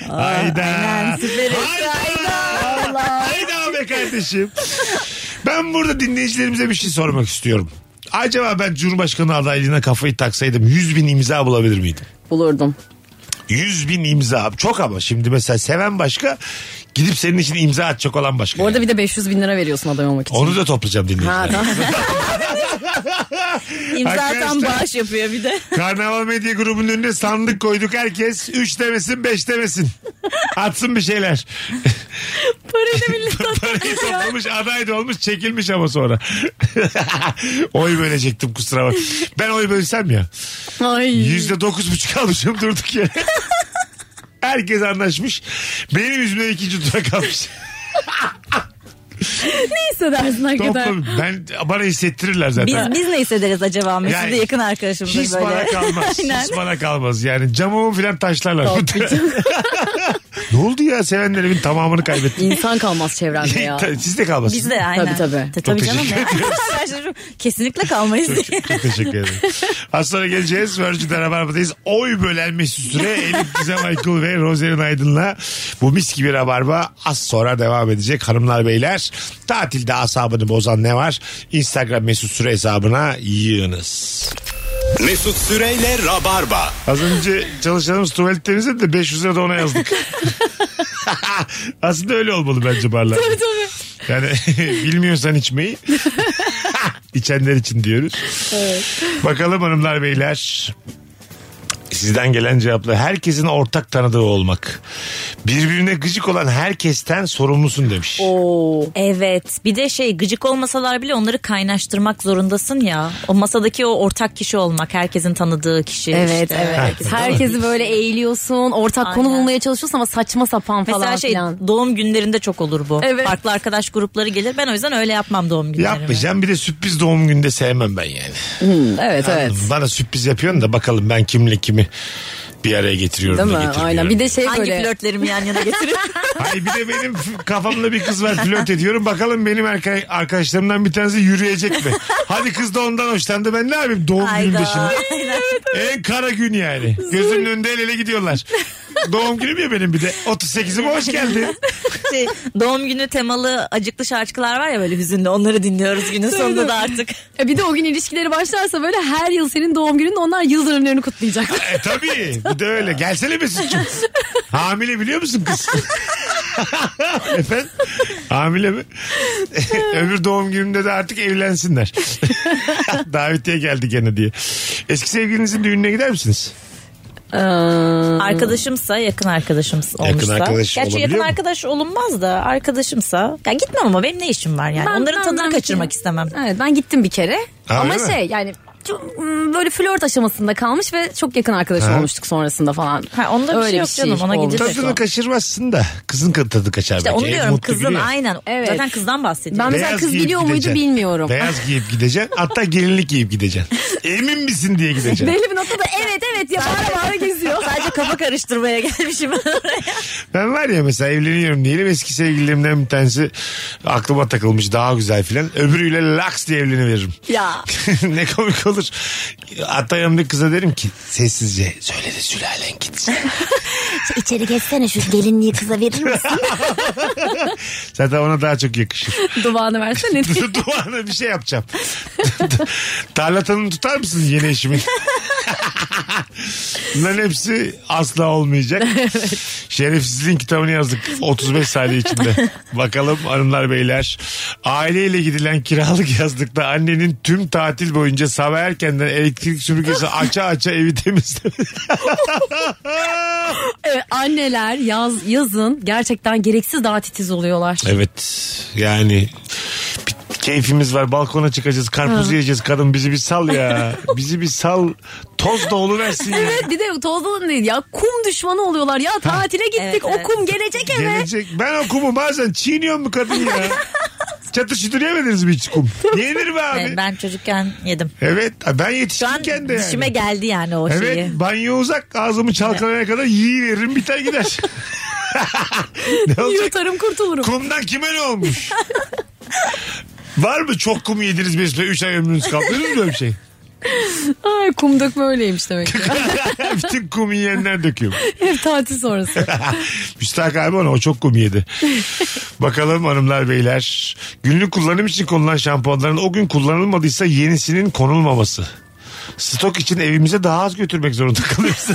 Speaker 3: Hayda.
Speaker 5: aynen, süperiz.
Speaker 3: Hayda. Hayda be kardeşim. Ben burada dinleyicilerimize bir şey sormak istiyorum. Acaba ben Cumhurbaşkanı adaylığına kafayı taksaydım 100 bin imza bulabilir miydim?
Speaker 4: Bulurdum.
Speaker 3: 100 bin imza çok ama şimdi mesela seven başka gidip senin için imza atacak olan başka.
Speaker 4: Bu arada bir de 500 bin lira veriyorsun aday olmak için.
Speaker 3: Onu da toplayacağım
Speaker 4: Ha
Speaker 3: dinleyiciler.
Speaker 4: tamam.
Speaker 5: İmzadan
Speaker 3: Arkadaşlar-
Speaker 5: bağış yapıyor bir de.
Speaker 3: Karnaval Medya Grubu'nun önüne sandık koyduk herkes. 3 demesin 5 demesin. Atsın bir şeyler.
Speaker 4: Parayla millet
Speaker 3: Parayı toplamış aday da olmuş çekilmiş ama sonra. oy bölecektim kusura bak. Ben oy bölsem ya.
Speaker 4: Ay.
Speaker 3: Yüzde dokuz buçuk almışım durduk yere. Herkes anlaşmış. Benim yüzümden ikinci tura kalmış.
Speaker 4: Ne hissedersin hakikaten?
Speaker 3: Toplam ben bana hissettirirler
Speaker 5: Biz,
Speaker 3: zaten.
Speaker 5: biz ne hissederiz acaba? Mesut
Speaker 3: Yani
Speaker 5: de yakın arkadaşımdır
Speaker 3: Hiç
Speaker 5: böyle.
Speaker 3: bana kalmaz.
Speaker 5: Aynen.
Speaker 3: Hiç bana kalmaz. Yani camımı falan taşlarlar. ne oldu ya sevenlerimin tamamını kaybettim.
Speaker 4: İnsan kalmaz çevrende ya.
Speaker 3: Siz de kalmasın.
Speaker 5: Biz de aynen.
Speaker 4: Tabii, tabii.
Speaker 5: Ta- tabii
Speaker 3: Çok
Speaker 5: canım.
Speaker 3: teşekkür
Speaker 5: Arkadaşlar, Kesinlikle kalmayız diye.
Speaker 3: Çok teşekkür ederim. Az sonra geleceğiz. Virgin'de Rabarba'dayız. Oy bölen Mesut Süre, Elif Gizem Aykul ve Rozerin Aydın'la bu mis gibi Rabarba az sonra devam edecek. Hanımlar beyler tatilde asabını bozan ne var? Instagram Mesut Süre hesabına yığınız.
Speaker 2: Mesut Süreyle Rabarba.
Speaker 3: Az önce çalışanımız tuvalet temizledi de 500 lira da ona yazdık. Aslında öyle olmalı bence barlar. Yani bilmiyorsan içmeyi içenler için diyoruz. Bakalım hanımlar beyler. Sizden gelen cevapla herkesin ortak tanıdığı olmak. Birbirine gıcık olan herkesten sorumlusun demiş.
Speaker 5: Evet bir de şey gıcık olmasalar bile onları kaynaştırmak zorundasın ya. O masadaki o ortak kişi olmak herkesin tanıdığı kişi.
Speaker 4: Evet
Speaker 5: işte.
Speaker 4: evet.
Speaker 5: Herkesin tanıdığı
Speaker 4: Herkesi
Speaker 5: kişi.
Speaker 4: böyle eğiliyorsun. Ortak konu
Speaker 5: Aynen.
Speaker 4: bulmaya çalışıyorsun ama saçma sapan
Speaker 5: Mesela
Speaker 4: falan
Speaker 5: şey
Speaker 4: filan.
Speaker 5: doğum günlerinde çok olur bu.
Speaker 4: Evet.
Speaker 5: Farklı arkadaş grupları gelir. Ben o yüzden öyle yapmam doğum günlerimi.
Speaker 3: Yapmayacağım bir de sürpriz doğum günde sevmem ben yani.
Speaker 4: Evet evet.
Speaker 3: Bana sürpriz yapıyorsun da bakalım ben kimle kimi bir araya getiriyorum.
Speaker 4: Değil
Speaker 3: da
Speaker 4: mi?
Speaker 3: getirmiyorum
Speaker 4: Aynen. Bir de şey
Speaker 5: Hangi
Speaker 4: böyle.
Speaker 5: flörtlerimi yan yana getiririm?
Speaker 3: Hayır bir de benim f- kafamda bir kız var flört ediyorum. Bakalım benim erka- arkadaşlarımdan bir tanesi yürüyecek mi? Hadi kız da ondan hoşlandı. Ben ne yapayım doğum günümde
Speaker 5: Hayda.
Speaker 3: şimdi? En kara gün yani. Gözümün önünde el ele gidiyorlar. doğum günüm ya benim bir de. 38'ime hoş geldin.
Speaker 5: Şey, doğum günü temalı acıklı şarkılar var ya böyle hüzünlü onları dinliyoruz günün sonunda da artık.
Speaker 4: E bir de o gün ilişkileri başlarsa böyle her yıl senin doğum gününde onlar yıl dönümlerini
Speaker 5: Ee,
Speaker 4: kutlayacak.
Speaker 3: E tabii. Bir de öyle. Gelsene Mesut'cum. Hamile biliyor musun kız? Efendim? Hamile mi? Öbür doğum günümde de artık evlensinler. Davetiye geldi gene diye. Eski sevgilinizin düğününe gider misiniz?
Speaker 5: Arkadaşımsa yakın arkadaşımız
Speaker 3: Yakın
Speaker 5: olmuşsa.
Speaker 3: arkadaş
Speaker 5: Gerçi
Speaker 3: olabiliyor
Speaker 5: yakın
Speaker 3: mu?
Speaker 5: arkadaş olunmaz da arkadaşımsa. Ya gitmem ama benim ne işim var yani.
Speaker 4: Ben-
Speaker 5: Onların
Speaker 4: ben-
Speaker 5: tadını
Speaker 4: ben-
Speaker 5: kaçırmak istemem.
Speaker 4: Evet ben gittim bir kere.
Speaker 3: Ha,
Speaker 4: Ama
Speaker 3: öyle mi?
Speaker 4: şey yani çok, mm, böyle flört aşamasında kalmış ve çok yakın arkadaş olmuştuk sonrasında falan.
Speaker 5: Ha, onda bir şey yok canım, ona
Speaker 4: olmuş.
Speaker 5: gidecek.
Speaker 3: Tadını kaçırmazsın da kızın tadı kaçar
Speaker 5: İşte
Speaker 3: belki.
Speaker 5: onu
Speaker 3: En
Speaker 5: diyorum
Speaker 3: mutlu
Speaker 5: kızın
Speaker 3: günü.
Speaker 5: aynen.
Speaker 4: Evet.
Speaker 5: Zaten kızdan bahsediyorum.
Speaker 4: Ben mesela
Speaker 3: Beyaz
Speaker 4: kız
Speaker 3: giyip
Speaker 4: biliyor muydu
Speaker 3: gideceksin.
Speaker 4: bilmiyorum.
Speaker 3: Beyaz giyip gideceksin. Hatta gelinlik giyip gideceksin. Emin misin diye gideceksin.
Speaker 4: Belli bir noktada evet evet ya bağıra bağıra geziyor.
Speaker 5: Sadece kafa karıştırmaya gelmişim.
Speaker 3: Ben var ya mesela evleniyorum diyelim eski sevgililerimden bir tanesi aklıma takılmış daha güzel filan. Öbürüyle laks diye evleniveririm.
Speaker 4: ya.
Speaker 3: ne komik olur. Hatta yanımdaki kıza derim ki sessizce söyle de sülalen gitsin.
Speaker 5: İçeri geçsene şu gelinliği kıza verir misin?
Speaker 3: Zaten ona daha çok yakışır.
Speaker 4: Duvağını versene.
Speaker 3: Duvarına bir şey yapacağım. Tarlatanını tutar mısın yeni eşimin? Bunların hepsi asla olmayacak. Şerefsizliğin kitabını yazdık 35 saniye içinde. Bakalım hanımlar beyler. Aileyle gidilen kiralık yazlıkta annenin tüm tatil boyunca sabah erkenden elektrik süpürgesi aça aça evi temizledi.
Speaker 4: Evet, e, anneler yaz yazın gerçekten gereksiz daha titiz oluyorlar.
Speaker 3: evet yani bir keyfimiz var balkona çıkacağız karpuz yiyeceğiz kadın bizi bir sal ya bizi bir sal toz da oluversin ya.
Speaker 4: Evet bir de tozdan değil ya kum düşmanı oluyorlar ya tatile gittik
Speaker 5: Evet,
Speaker 4: o
Speaker 5: evet.
Speaker 4: kum gelecek eve.
Speaker 3: Gelecek. Ben o kumu bazen çiğniyorum bu kadın ya. Çatır çutur yemediniz mi hiç kum? Yenir mi abi?
Speaker 5: ben çocukken yedim.
Speaker 3: Evet ben
Speaker 5: Şu an
Speaker 3: yetişkinken de yani.
Speaker 5: dişime geldi yani o
Speaker 3: Evet
Speaker 5: şeyi.
Speaker 3: banyo uzak ağzımı çalkalayana kadar yiyiveririm biter gider. ne olacak?
Speaker 4: Yutarım kurtulurum.
Speaker 3: Kumdan kime ne olmuş? Var mı çok kum yediniz mesela 3 ay ömrünüz kaldı? Öyle mi böyle bir şey?
Speaker 4: Ay kum dökme öyleymiş demek ki.
Speaker 3: Bütün kum yiyenler döküyor.
Speaker 4: Hep tatil sonrası.
Speaker 3: Müstahak abi ona o çok kum yedi. Bakalım hanımlar beyler. Günlük kullanım için konulan şampuanların o gün kullanılmadıysa yenisinin konulmaması. Stok için evimize daha az götürmek zorunda kalıyoruz.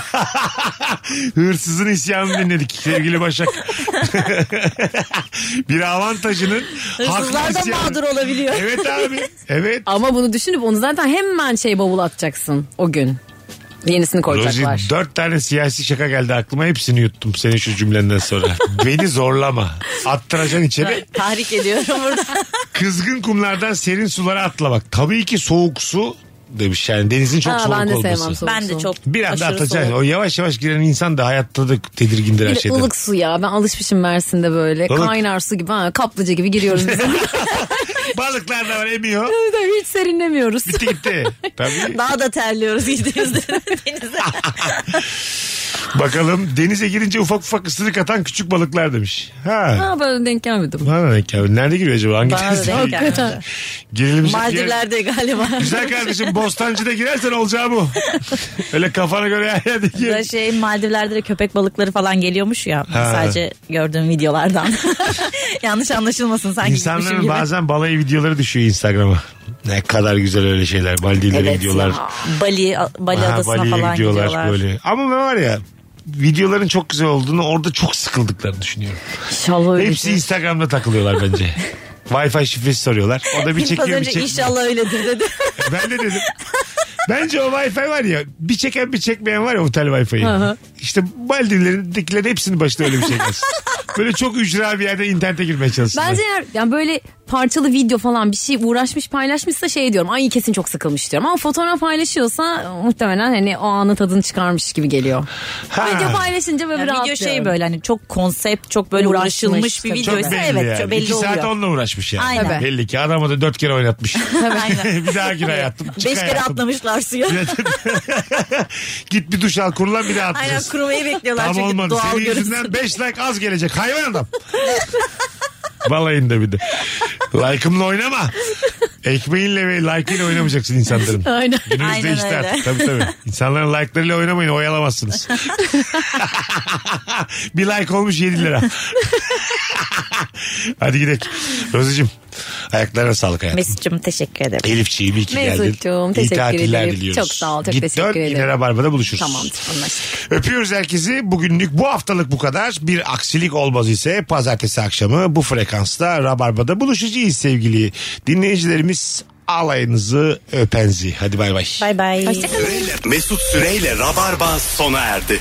Speaker 3: Hırsızın isyanını dinledik sevgili Başak. bir avantajının
Speaker 5: Hırsızlar
Speaker 3: haklı
Speaker 5: da
Speaker 3: isyanı-
Speaker 5: mağdur olabiliyor.
Speaker 3: Evet abi. Evet.
Speaker 4: Ama bunu düşünüp onu zaten hemen şey bavul atacaksın o gün.
Speaker 3: Rozi
Speaker 4: Yenisini koyacaklar.
Speaker 3: dört tane siyasi şaka geldi aklıma hepsini yuttum senin şu cümlenden sonra. Beni zorlama. Attıracaksın içeri.
Speaker 5: Tahrik ediyorum burada.
Speaker 3: Kızgın kumlardan serin sulara atlamak. Tabii ki soğuk su demiş yani denizin çok
Speaker 4: Ha,
Speaker 3: soğuk
Speaker 4: ben de
Speaker 3: olması.
Speaker 4: sevmem soğuk
Speaker 5: ben de
Speaker 4: su.
Speaker 5: çok
Speaker 3: Bir anda
Speaker 5: aşırı
Speaker 3: atacaksın.
Speaker 5: soğuk.
Speaker 3: O yavaş yavaş giren insan da hayatta da tedirgindir her
Speaker 4: Bir de
Speaker 3: şeyden.
Speaker 4: ılık su ya. Ben alışmışım Mersin'de böyle.
Speaker 3: Ilık.
Speaker 4: Kaynar su gibi. Ha, kaplıca gibi giriyoruz biz.
Speaker 3: Balıklar da var emiyor.
Speaker 4: Hiç serinlemiyoruz.
Speaker 3: Bitti gitti. Tabii.
Speaker 5: Daha da terliyoruz gittiğimizde denize.
Speaker 3: Bakalım denize girince ufak ufak ısırık atan küçük balıklar demiş. Ha.
Speaker 4: Ha ben denk gelmedim.
Speaker 3: Bana ne ki abi? Nerede giriyor acaba? Hangi
Speaker 5: Bana da
Speaker 3: denizde?
Speaker 5: denk geldi.
Speaker 3: Girilecek yer-
Speaker 5: Maldivler'de galiba.
Speaker 3: Güzel kardeşim Bostancı'da girersen olacağı bu. Öyle kafana göre her yerde gir.
Speaker 5: Böyle şey Maldivler'de de köpek balıkları falan geliyormuş ya.
Speaker 3: Ha.
Speaker 5: Sadece gördüğüm videolardan. Yanlış anlaşılmasın sanki gitmişim
Speaker 3: İnsanların
Speaker 5: gibi.
Speaker 3: bazen balayı videoları düşüyor Instagram'a. Ne kadar güzel öyle şeyler. Maldivlere gidiyorlar.
Speaker 5: ya. Bali, Bali
Speaker 3: Ha,
Speaker 5: adasına
Speaker 3: Bali'ye
Speaker 5: falan gidiyorlar.
Speaker 3: böyle. Ama ben var ya videoların çok güzel olduğunu orada çok sıkıldıklarını düşünüyorum.
Speaker 4: İnşallah öyle.
Speaker 5: şey.
Speaker 3: Hepsi Instagram'da takılıyorlar bence. Wi-Fi şifresi soruyorlar. O da bir
Speaker 5: İlk az
Speaker 3: çekiyor bir
Speaker 5: önce
Speaker 3: çekmiyor.
Speaker 5: inşallah öyledir dedi.
Speaker 3: Ben de dedim. Bence o Wi-Fi var ya bir çeken bir çekmeyen var ya otel Wi-Fi'yi. İşte Maldivlerindekilerin hepsinin başına öyle bir şey gelsin. Böyle çok ücra bir yerde internete girmeye çalışsınlar.
Speaker 4: Bence eğer yani böyle parçalı video falan bir şey uğraşmış paylaşmışsa şey diyorum. Ay kesin çok sıkılmış diyorum. Ama fotoğraf paylaşıyorsa muhtemelen hani o anın tadını çıkarmış gibi geliyor.
Speaker 3: Ha.
Speaker 4: Video paylaşınca böyle
Speaker 5: Yani
Speaker 4: rahatlıyorum.
Speaker 5: video şey böyle hani çok konsept, çok böyle
Speaker 4: Uğraşmış
Speaker 5: uğraşılmış bir
Speaker 4: tabii.
Speaker 5: videoysa
Speaker 3: Çok belli
Speaker 5: evet
Speaker 3: yani.
Speaker 5: çok belli
Speaker 3: İki
Speaker 5: oluyor.
Speaker 3: saat onunla uğraşmış yani.
Speaker 5: Aynen.
Speaker 4: Tabii.
Speaker 3: Belli ki adamı da dört kere oynatmış.
Speaker 5: Aynen.
Speaker 3: bir daha gir hayatım. Çık
Speaker 5: Beş kere
Speaker 3: hayatım.
Speaker 5: atlamışlar suya.
Speaker 3: Git bir duş al kurulan bir daha
Speaker 5: Aynen
Speaker 3: atlayacağız.
Speaker 5: kurumayı bekliyorlar
Speaker 3: Tam
Speaker 5: çünkü
Speaker 3: olmadı.
Speaker 5: doğal
Speaker 3: Senin
Speaker 5: görüntü.
Speaker 3: yüzünden 5 like az gelecek. Hayvan adam. Balayında bir de. Like'ımla oynama. Ekmeğinle ve like'ıyla oynamayacaksın insanların.
Speaker 4: Aynen.
Speaker 3: Günümüzde
Speaker 5: Aynen
Speaker 3: işte
Speaker 5: öyle.
Speaker 3: artık. Tabii tabii. İnsanların like'larıyla oynamayın oyalamazsınız. bir like olmuş 7 lira. Hadi gidelim. Rozicim ayaklarına sağlık hayatım.
Speaker 5: Mesut'cum teşekkür ederim.
Speaker 3: Elifçiğim iyi ki geldin.
Speaker 4: Mesut'cum,
Speaker 3: İyi
Speaker 4: teşekkür
Speaker 3: tatiller
Speaker 4: ederim.
Speaker 3: diliyoruz.
Speaker 4: Çok sağ ol, çok
Speaker 3: Git
Speaker 4: teşekkür
Speaker 3: dön,
Speaker 4: ederim.
Speaker 3: yine Rabarba'da buluşuruz.
Speaker 4: Tamamdır anlaştık.
Speaker 3: Öpüyoruz herkesi. Bugünlük bu haftalık bu kadar. Bir aksilik olmaz ise pazartesi akşamı bu frekansta Rabarba'da buluşacağız sevgili dinleyicilerimiz. Alayınızı öpenzi. Hadi bay bay.
Speaker 5: Bay bay.
Speaker 2: Mesut Süreyle Rabarba sona erdi.